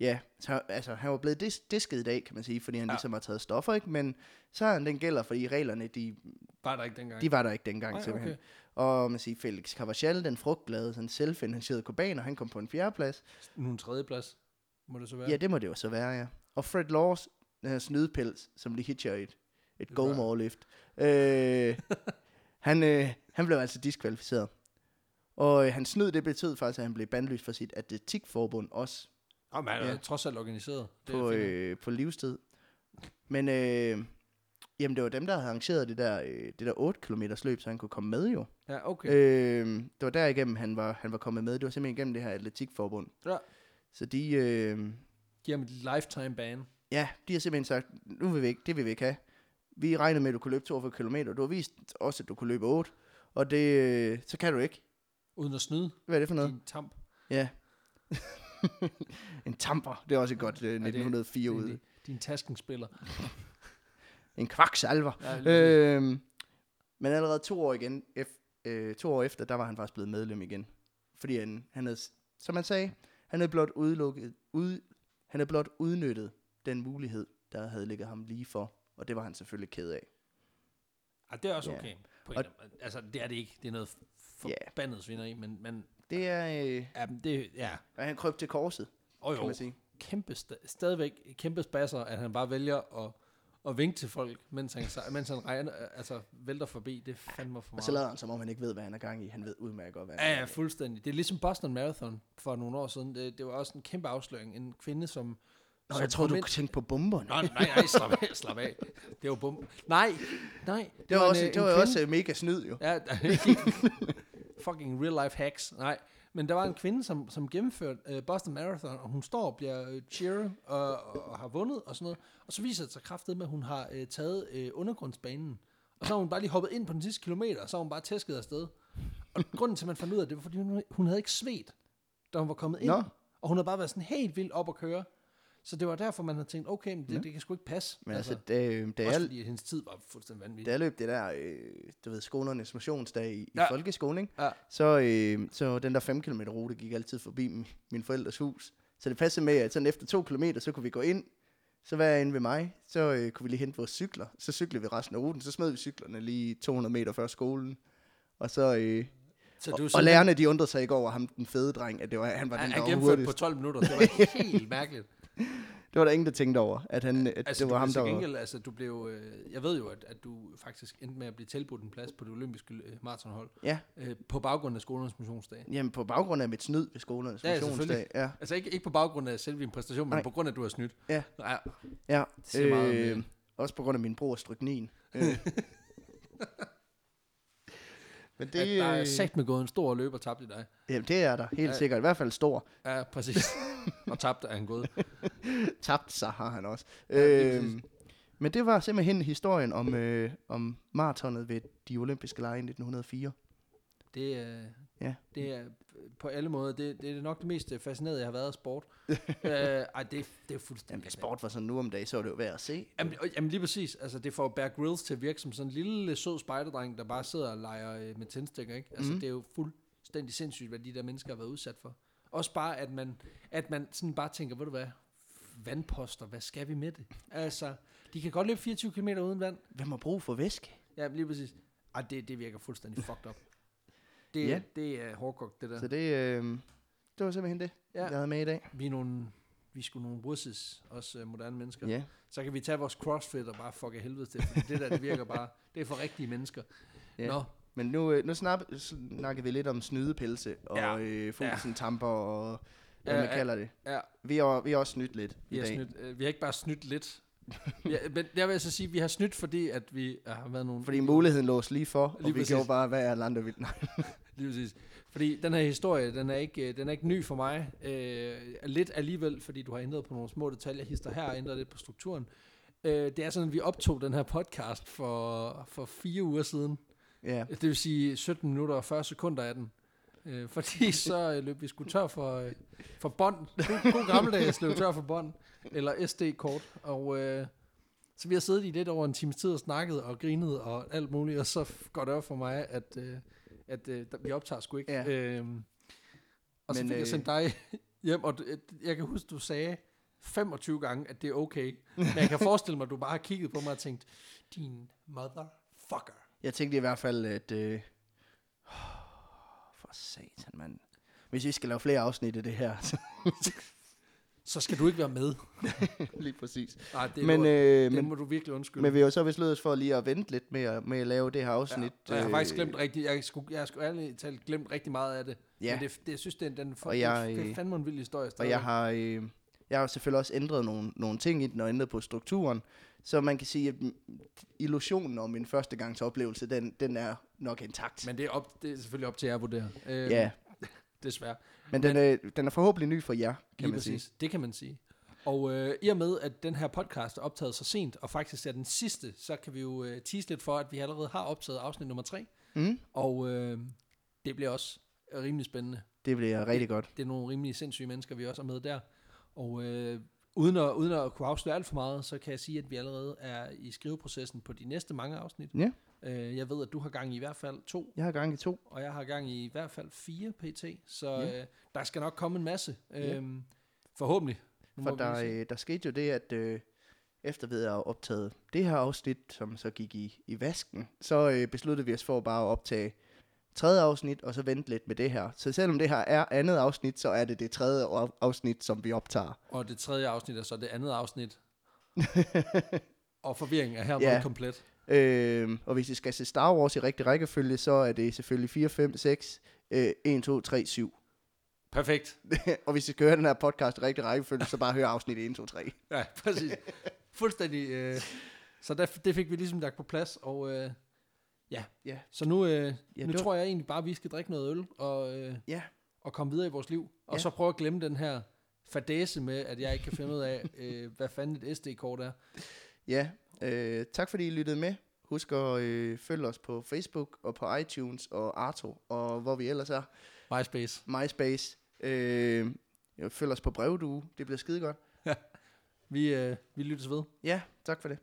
Speaker 2: ja så, altså, han var blevet dis- disket i dag, kan man sige, fordi han
Speaker 1: Ja.
Speaker 2: ja. ligesom har taget stoffer, ikke? Men så har han den gælder, fordi reglerne, de,
Speaker 1: Bare der ikke dengang.
Speaker 2: de var der ikke dengang,
Speaker 1: Nej,
Speaker 2: simpelthen.
Speaker 1: okay.
Speaker 2: Okay. Og man siger, Felix Carvajal, den frugtglade, sådan selvfinansierede kubaner, han kom på en fjerdeplads.
Speaker 1: Nu en tredjeplads, må det så være.
Speaker 2: Ja. ja, det må det jo så være, ja. Og Fred Laws, den her snydepels, som lige hitcher i et, et
Speaker 1: Det var-
Speaker 2: go-more-lift. Øh, han, øh, han blev altså diskvalificeret. Og øh, han snyd, det betød faktisk, at han blev bandlyst for sit atletikforbund også
Speaker 1: Nå, men han er
Speaker 2: Ja.
Speaker 1: trods alt organiseret. Det
Speaker 2: på,
Speaker 1: er fint.
Speaker 2: øh, på livstid. Men øh, jamen, det var dem, der havde arrangeret det der, øh, det der 8 km løb, så han kunne komme med jo.
Speaker 1: ja, okay.
Speaker 2: Øh, det var derigennem, han var, han var kommet med. Det var simpelthen igennem det her atletikforbund.
Speaker 1: Ja.
Speaker 2: Så de, øh,
Speaker 1: Giv ham et lifetime ban.
Speaker 2: ja, de har simpelthen sagt, nu vil vi ikke, det vil vi ikke have. Vi regnede med, at du kunne løbe 42 km. Du har vist også, at du kunne løbe 8. Og det, øh, så kan du ikke.
Speaker 1: Uden at snyde
Speaker 2: Hvad er det for noget?
Speaker 1: din tamp.
Speaker 2: Ja. en tamper, det er også et godt øh,
Speaker 1: det-
Speaker 2: 1904 ud.
Speaker 1: Din, din taskenspiller.
Speaker 2: En kvaksalver.
Speaker 1: Ja, øh.
Speaker 2: Øhm, men allerede to år, igen, ef- øh, to år efter, der var han faktisk blevet medlem igen. Fordi han, han havde, s- som han sagde, han havde blot, udelukket, ud, han havde blot udnyttet den mulighed, der havde ligget ham lige for. Og det var han selvfølgelig ked af.
Speaker 1: ja, det er også
Speaker 2: ja.
Speaker 1: okay. På en
Speaker 2: Og-
Speaker 1: eller anden- altså, det er det ikke. Det er noget
Speaker 2: Ja.
Speaker 1: forbandet yeah. svineri, men, men
Speaker 2: Det er, øh,
Speaker 1: ja, men det, ja.
Speaker 2: og han kryb til korset,
Speaker 1: Og
Speaker 2: kan
Speaker 1: jo,
Speaker 2: man sige.
Speaker 1: kæmpe, sta- stadigvæk kæmpe spasser, at han bare vælger at, at vinke til folk, mens han, sej- mens han regner, altså, vælter forbi. Det er fandme for
Speaker 2: Og så
Speaker 1: meget.
Speaker 2: lader han, som om han ikke ved, hvad han er gang i. Han ved udmærket godt, hvad han
Speaker 1: Ja, ja,
Speaker 2: er gang i.
Speaker 1: fuldstændig. Det er ligesom Boston Marathon for nogle år siden. Det, det var også en kæmpe afsløring. En kvinde, som...
Speaker 2: Nå,
Speaker 1: som
Speaker 2: jeg tror,
Speaker 1: kom
Speaker 2: du
Speaker 1: ind-
Speaker 2: tænkte på bomberne.
Speaker 1: Nå, nej, nej, slap af, slap af. Det var bum. Nej, nej.
Speaker 2: det var,
Speaker 1: en,
Speaker 2: også,
Speaker 1: øh,
Speaker 2: det
Speaker 1: en
Speaker 2: var jo
Speaker 1: kvinde-
Speaker 2: også øh, mega snyd, jo.
Speaker 1: Ja, fucking real life hacks. Nej, men der var en kvinde, som, som gennemførte øh, Boston Marathon, og hun står og bliver øh, cheerer og, og har vundet og sådan noget. Og så viser det sig kraftet med, at hun har øh, taget øh, undergrundsbanen. Og så har hun bare lige hoppet ind på den sidste kilometer, og så har hun bare tæsket afsted. Og grunden til, at man fandt ud af det, var, fordi hun, hun havde ikke svedt, da hun var kommet ind.
Speaker 2: Nå.
Speaker 1: Og hun havde bare været sådan helt vildt op at køre. Så det var derfor, man havde tænkt, okay, men det, det kan sgu ikke passe.
Speaker 2: Men altså, da, øh, da
Speaker 1: også
Speaker 2: jeg
Speaker 1: fordi, at hendes tid var fuldstændig vanvittig.
Speaker 2: Da jeg løb det der, øh, du ved, skolernes motionsdag i,
Speaker 1: Ja.
Speaker 2: ja. i folkeskolen, ikke?
Speaker 1: Ja.
Speaker 2: Så, øh, så den der 5 km rute gik altid forbi min, min forældres hus. Så det passede med, at sådan efter 2 km, så kunne vi gå ind, så var jeg inde ved mig, så øh, kunne vi lige hente vores cykler. Så cyklede vi resten af ruten, så smed vi cyklerne lige 200 meter før skolen. Og så, øh,
Speaker 1: Så
Speaker 2: og,
Speaker 1: du er
Speaker 2: og
Speaker 1: simpelthen-
Speaker 2: lærerne, de undrede sig ikke over ham, den fede dreng, at det var, han var den,
Speaker 1: Han,
Speaker 2: der
Speaker 1: han
Speaker 2: var
Speaker 1: gennemførte
Speaker 2: hurtigst.
Speaker 1: på 12 minutter. Det var helt mærkeligt.
Speaker 2: Det var der ingen, der tænkte over, at, han, at
Speaker 1: Altså,
Speaker 2: det var ham, der
Speaker 1: til
Speaker 2: var...
Speaker 1: gengæld, altså, du blev, øh, jeg ved jo, at, at du faktisk endte med at blive tilbudt en plads på det olympiske øh, maratonhold
Speaker 2: Ja,
Speaker 1: øh, på baggrund af skolernes motionsdag.
Speaker 2: jamen på baggrund af mit snyd ved skolernes
Speaker 1: Ja, ja,
Speaker 2: motionsdag.
Speaker 1: selvfølgelig.
Speaker 2: Ja,
Speaker 1: Altså ikke, ikke på baggrund af selve din præstation, men Nej.
Speaker 2: Nej.
Speaker 1: på grund af, at du har snydt.
Speaker 2: Ja.
Speaker 1: ja.
Speaker 2: Ja, øh,
Speaker 1: siger meget om øh, det.
Speaker 2: også på grund af min bror stryknin. Øh. Men
Speaker 1: Det, at
Speaker 2: det,
Speaker 1: der er
Speaker 2: øh,
Speaker 1: sagt med gået en stor løber tabt i dig.
Speaker 2: jamen, det er der helt
Speaker 1: Ja.
Speaker 2: sikkert. I hvert fald stor.
Speaker 1: Ja, præcis. og tabt er han gået.
Speaker 2: Tabt sig har han også.
Speaker 1: Ja, lige
Speaker 2: Øh, men det var simpelthen historien om, øh, om maratonet ved de olympiske lege i 1904.
Speaker 1: Det, øh,
Speaker 2: Ja.
Speaker 1: det er øh, på alle måder, det, det er nok det mest øh, fascinerende, jeg har været af sport. øh, ej, det, det er
Speaker 2: Jamen, da
Speaker 1: fuldstændig
Speaker 2: sport var sådan nu om dagen, så var det jo værd at se.
Speaker 1: Jamen, og- jamen lige præcis. Altså, det får Bear Grylls til at virke som sådan en lille sød spejderdreng, der bare sidder og leger øh, med tændstikker, ikke? Altså, mm.
Speaker 2: Mhm.
Speaker 1: det er jo fuldstændig sindssygt, hvad de der mennesker har været udsat for. Også bare, at man, at man sådan bare tænker, ved du hvad, vandposter, hvad skal vi med det? Altså, de kan godt løbe 24 km uden vand.
Speaker 2: Hvem har brug for væske?
Speaker 1: Ja, lige præcis. Ej, det, det virker fuldstændig fucked up. Det,
Speaker 2: Ja.
Speaker 1: det er hårdkogt, det der.
Speaker 2: Så det, øh, det var simpelthen det,
Speaker 1: Ja.
Speaker 2: ja. jeg havde med i dag.
Speaker 1: Vi er nogle, vi skulle nogle russes, også øh, moderne mennesker.
Speaker 2: Ja.
Speaker 1: Så kan vi tage vores crossfit og bare fuck af helvede til, fordi det der, det virker bare, det er for rigtige mennesker.
Speaker 2: Ja.
Speaker 1: Nå,
Speaker 2: Men nu, øh, nu snak, snakkede vi lidt om snydepelse og
Speaker 1: Ja.
Speaker 2: ja. øh, fuglsen ja. tamper og hvad
Speaker 1: Ja,
Speaker 2: ja, man
Speaker 1: ja.
Speaker 2: kalder det.
Speaker 1: ja,
Speaker 2: Vi har, vi har også snydt lidt
Speaker 1: vi
Speaker 2: i
Speaker 1: har,
Speaker 2: dag.
Speaker 1: snydt, øh, vi har ikke bare snydt lidt. Ja, men der vil jeg så sige, at vi har snydt, fordi at vi ja, har været nogle...
Speaker 2: Fordi muligheden lås lige for, og
Speaker 1: Lige
Speaker 2: vi
Speaker 1: præcis.
Speaker 2: gjorde bare, hvad er Lander vil. Nej,
Speaker 1: Lige præcis. Fordi den her historie, den er ikke, øh, den er ikke ny for mig. Øh, lidt alligevel, fordi du har ændret på nogle små detaljer, hister her og ændret lidt på strukturen. Øh, det er sådan, at vi optog den her podcast for, for fire uger siden.
Speaker 2: ja,
Speaker 1: Det vil sige 17 minutter og 40 sekunder af den. Øh, fordi så øh, løb vi sgu tør for, øh, for bånd. God, god gammeldags løb tør for bånd. Eller SD-kort. Og øh, så vi har siddet i lidt over en times tid og snakket og grinet og alt muligt. Og så f- går det op for mig, at, øh, at øh, der- vi optager sgu ikke.
Speaker 2: Ja.
Speaker 1: Øhm, og så
Speaker 2: Men,
Speaker 1: fik
Speaker 2: øh,
Speaker 1: jeg sendt dig hjem. Og du, jeg kan huske, du sagde 25 gange, at det er okay. Men jeg kan forestille mig, at du bare har kigget på mig og tænkt, din motherfucker.
Speaker 2: Jeg tænkte i hvert fald, at... Øh, for satan, mand. Hvis vi skal lave flere afsnit af det her, så
Speaker 1: Så skal du ikke være med.
Speaker 2: lige præcis.
Speaker 1: Nej, det, er
Speaker 2: Men,
Speaker 1: lort.
Speaker 2: øh,
Speaker 1: det
Speaker 2: men,
Speaker 1: må du virkelig undskylde.
Speaker 2: men vi har jo så besluttet os for lige at vente lidt med at, med at lave det her
Speaker 1: Ja,
Speaker 2: afsnit.
Speaker 1: og jeg har
Speaker 2: øh,
Speaker 1: faktisk glemt rigtig, jeg skulle, jeg skulle ærligt talt glemt rigtig meget af det.
Speaker 2: Ja,
Speaker 1: Men det, det, jeg synes, den, den for,
Speaker 2: Og jeg,
Speaker 1: det er
Speaker 2: øh,
Speaker 1: fandme en vild historie.
Speaker 2: og jeg har, øh, jeg har selvfølgelig også ændret nogle, nogle ting i den og ændret på strukturen. Så man kan sige, at mm, illusionen om min første gangs oplevelse, den, den er nok intakt. Men,
Speaker 1: Men det er, op, det er selvfølgelig op til jer at vurdere. Øh,
Speaker 2: ja,
Speaker 1: Desværre.
Speaker 2: men, den, øh, den er forhåbentlig ny for jer, kan
Speaker 1: Lige
Speaker 2: man sige.
Speaker 1: præcis. Det kan man sige. Og øh, i og med, at den her podcast er optaget så sent, og faktisk er den sidste, så kan vi jo øh, tease lidt for, at vi allerede har optaget afsnit nummer 3.
Speaker 2: Mm,
Speaker 1: Og øh, det bliver også rimelig spændende.
Speaker 2: det bliver rigtig godt.
Speaker 1: Det er nogle rimelig sindssyge mennesker, vi også er med der. Og øh, uden, at, uden at kunne afsløre alt for meget, så kan jeg sige, at vi allerede er i skriveprocessen på de næste mange afsnit.
Speaker 2: Ja.
Speaker 1: Øh, jeg ved, at du har gang i i hvert fald to,
Speaker 2: Jeg har gang i to.
Speaker 1: og jeg har gang i i hvert fald fire pt. Så
Speaker 2: Ja.
Speaker 1: øh, der skal nok komme en masse.
Speaker 2: Ja.
Speaker 1: Øh, forhåbentlig. Nu
Speaker 2: For
Speaker 1: må vi
Speaker 2: der,
Speaker 1: se.
Speaker 2: øh, der skete jo det, at øh, efter vi havde optaget det her afsnit, som så gik i, i vasken, så øh, besluttede vi os for bare at optage tredje afsnit, og så vente lidt med det her. Så selvom det her er andet afsnit, så er det det tredje af- afsnit, som vi optager.
Speaker 1: Og det tredje afsnit er så det andet afsnit. og forvirringen er hermed
Speaker 2: Ja.
Speaker 1: komplet.
Speaker 2: Øh, og hvis I skal se Star Wars i rigtig rækkefølge, så er det selvfølgelig 4, 5, 6, øh, 1, 2, 3, 7.
Speaker 1: Perfekt.
Speaker 2: og hvis I skal høre den her podcast i rigtig rækkefølge, så bare hør afsnit 1, 2, 3.
Speaker 1: Ja, præcis. Fuldstændig. Øh, så der, det fik vi ligesom lagt på plads, og øh, ja.
Speaker 2: Ja.
Speaker 1: Så nu, øh,
Speaker 2: Ja,
Speaker 1: ja, nu
Speaker 2: det var-
Speaker 1: tror jeg egentlig bare, at vi skal drikke noget øl og, øh,
Speaker 2: Ja.
Speaker 1: og komme videre i vores liv. Og
Speaker 2: Ja.
Speaker 1: så prøve at glemme den her fadæse med, at jeg ikke kan finde ud af, øh, hvad fanden et SD-kort er.
Speaker 2: Ja, øh, tak fordi I lyttede med. Husk at øh, følge os på Facebook og på iTunes og Arto, og hvor vi ellers er,
Speaker 1: MySpace.
Speaker 2: MySpace. Øh, ja, følg os på brevdue, det bliver skide godt.
Speaker 1: Vi, øh, vi lyttes ved.
Speaker 2: Ja, tak for det.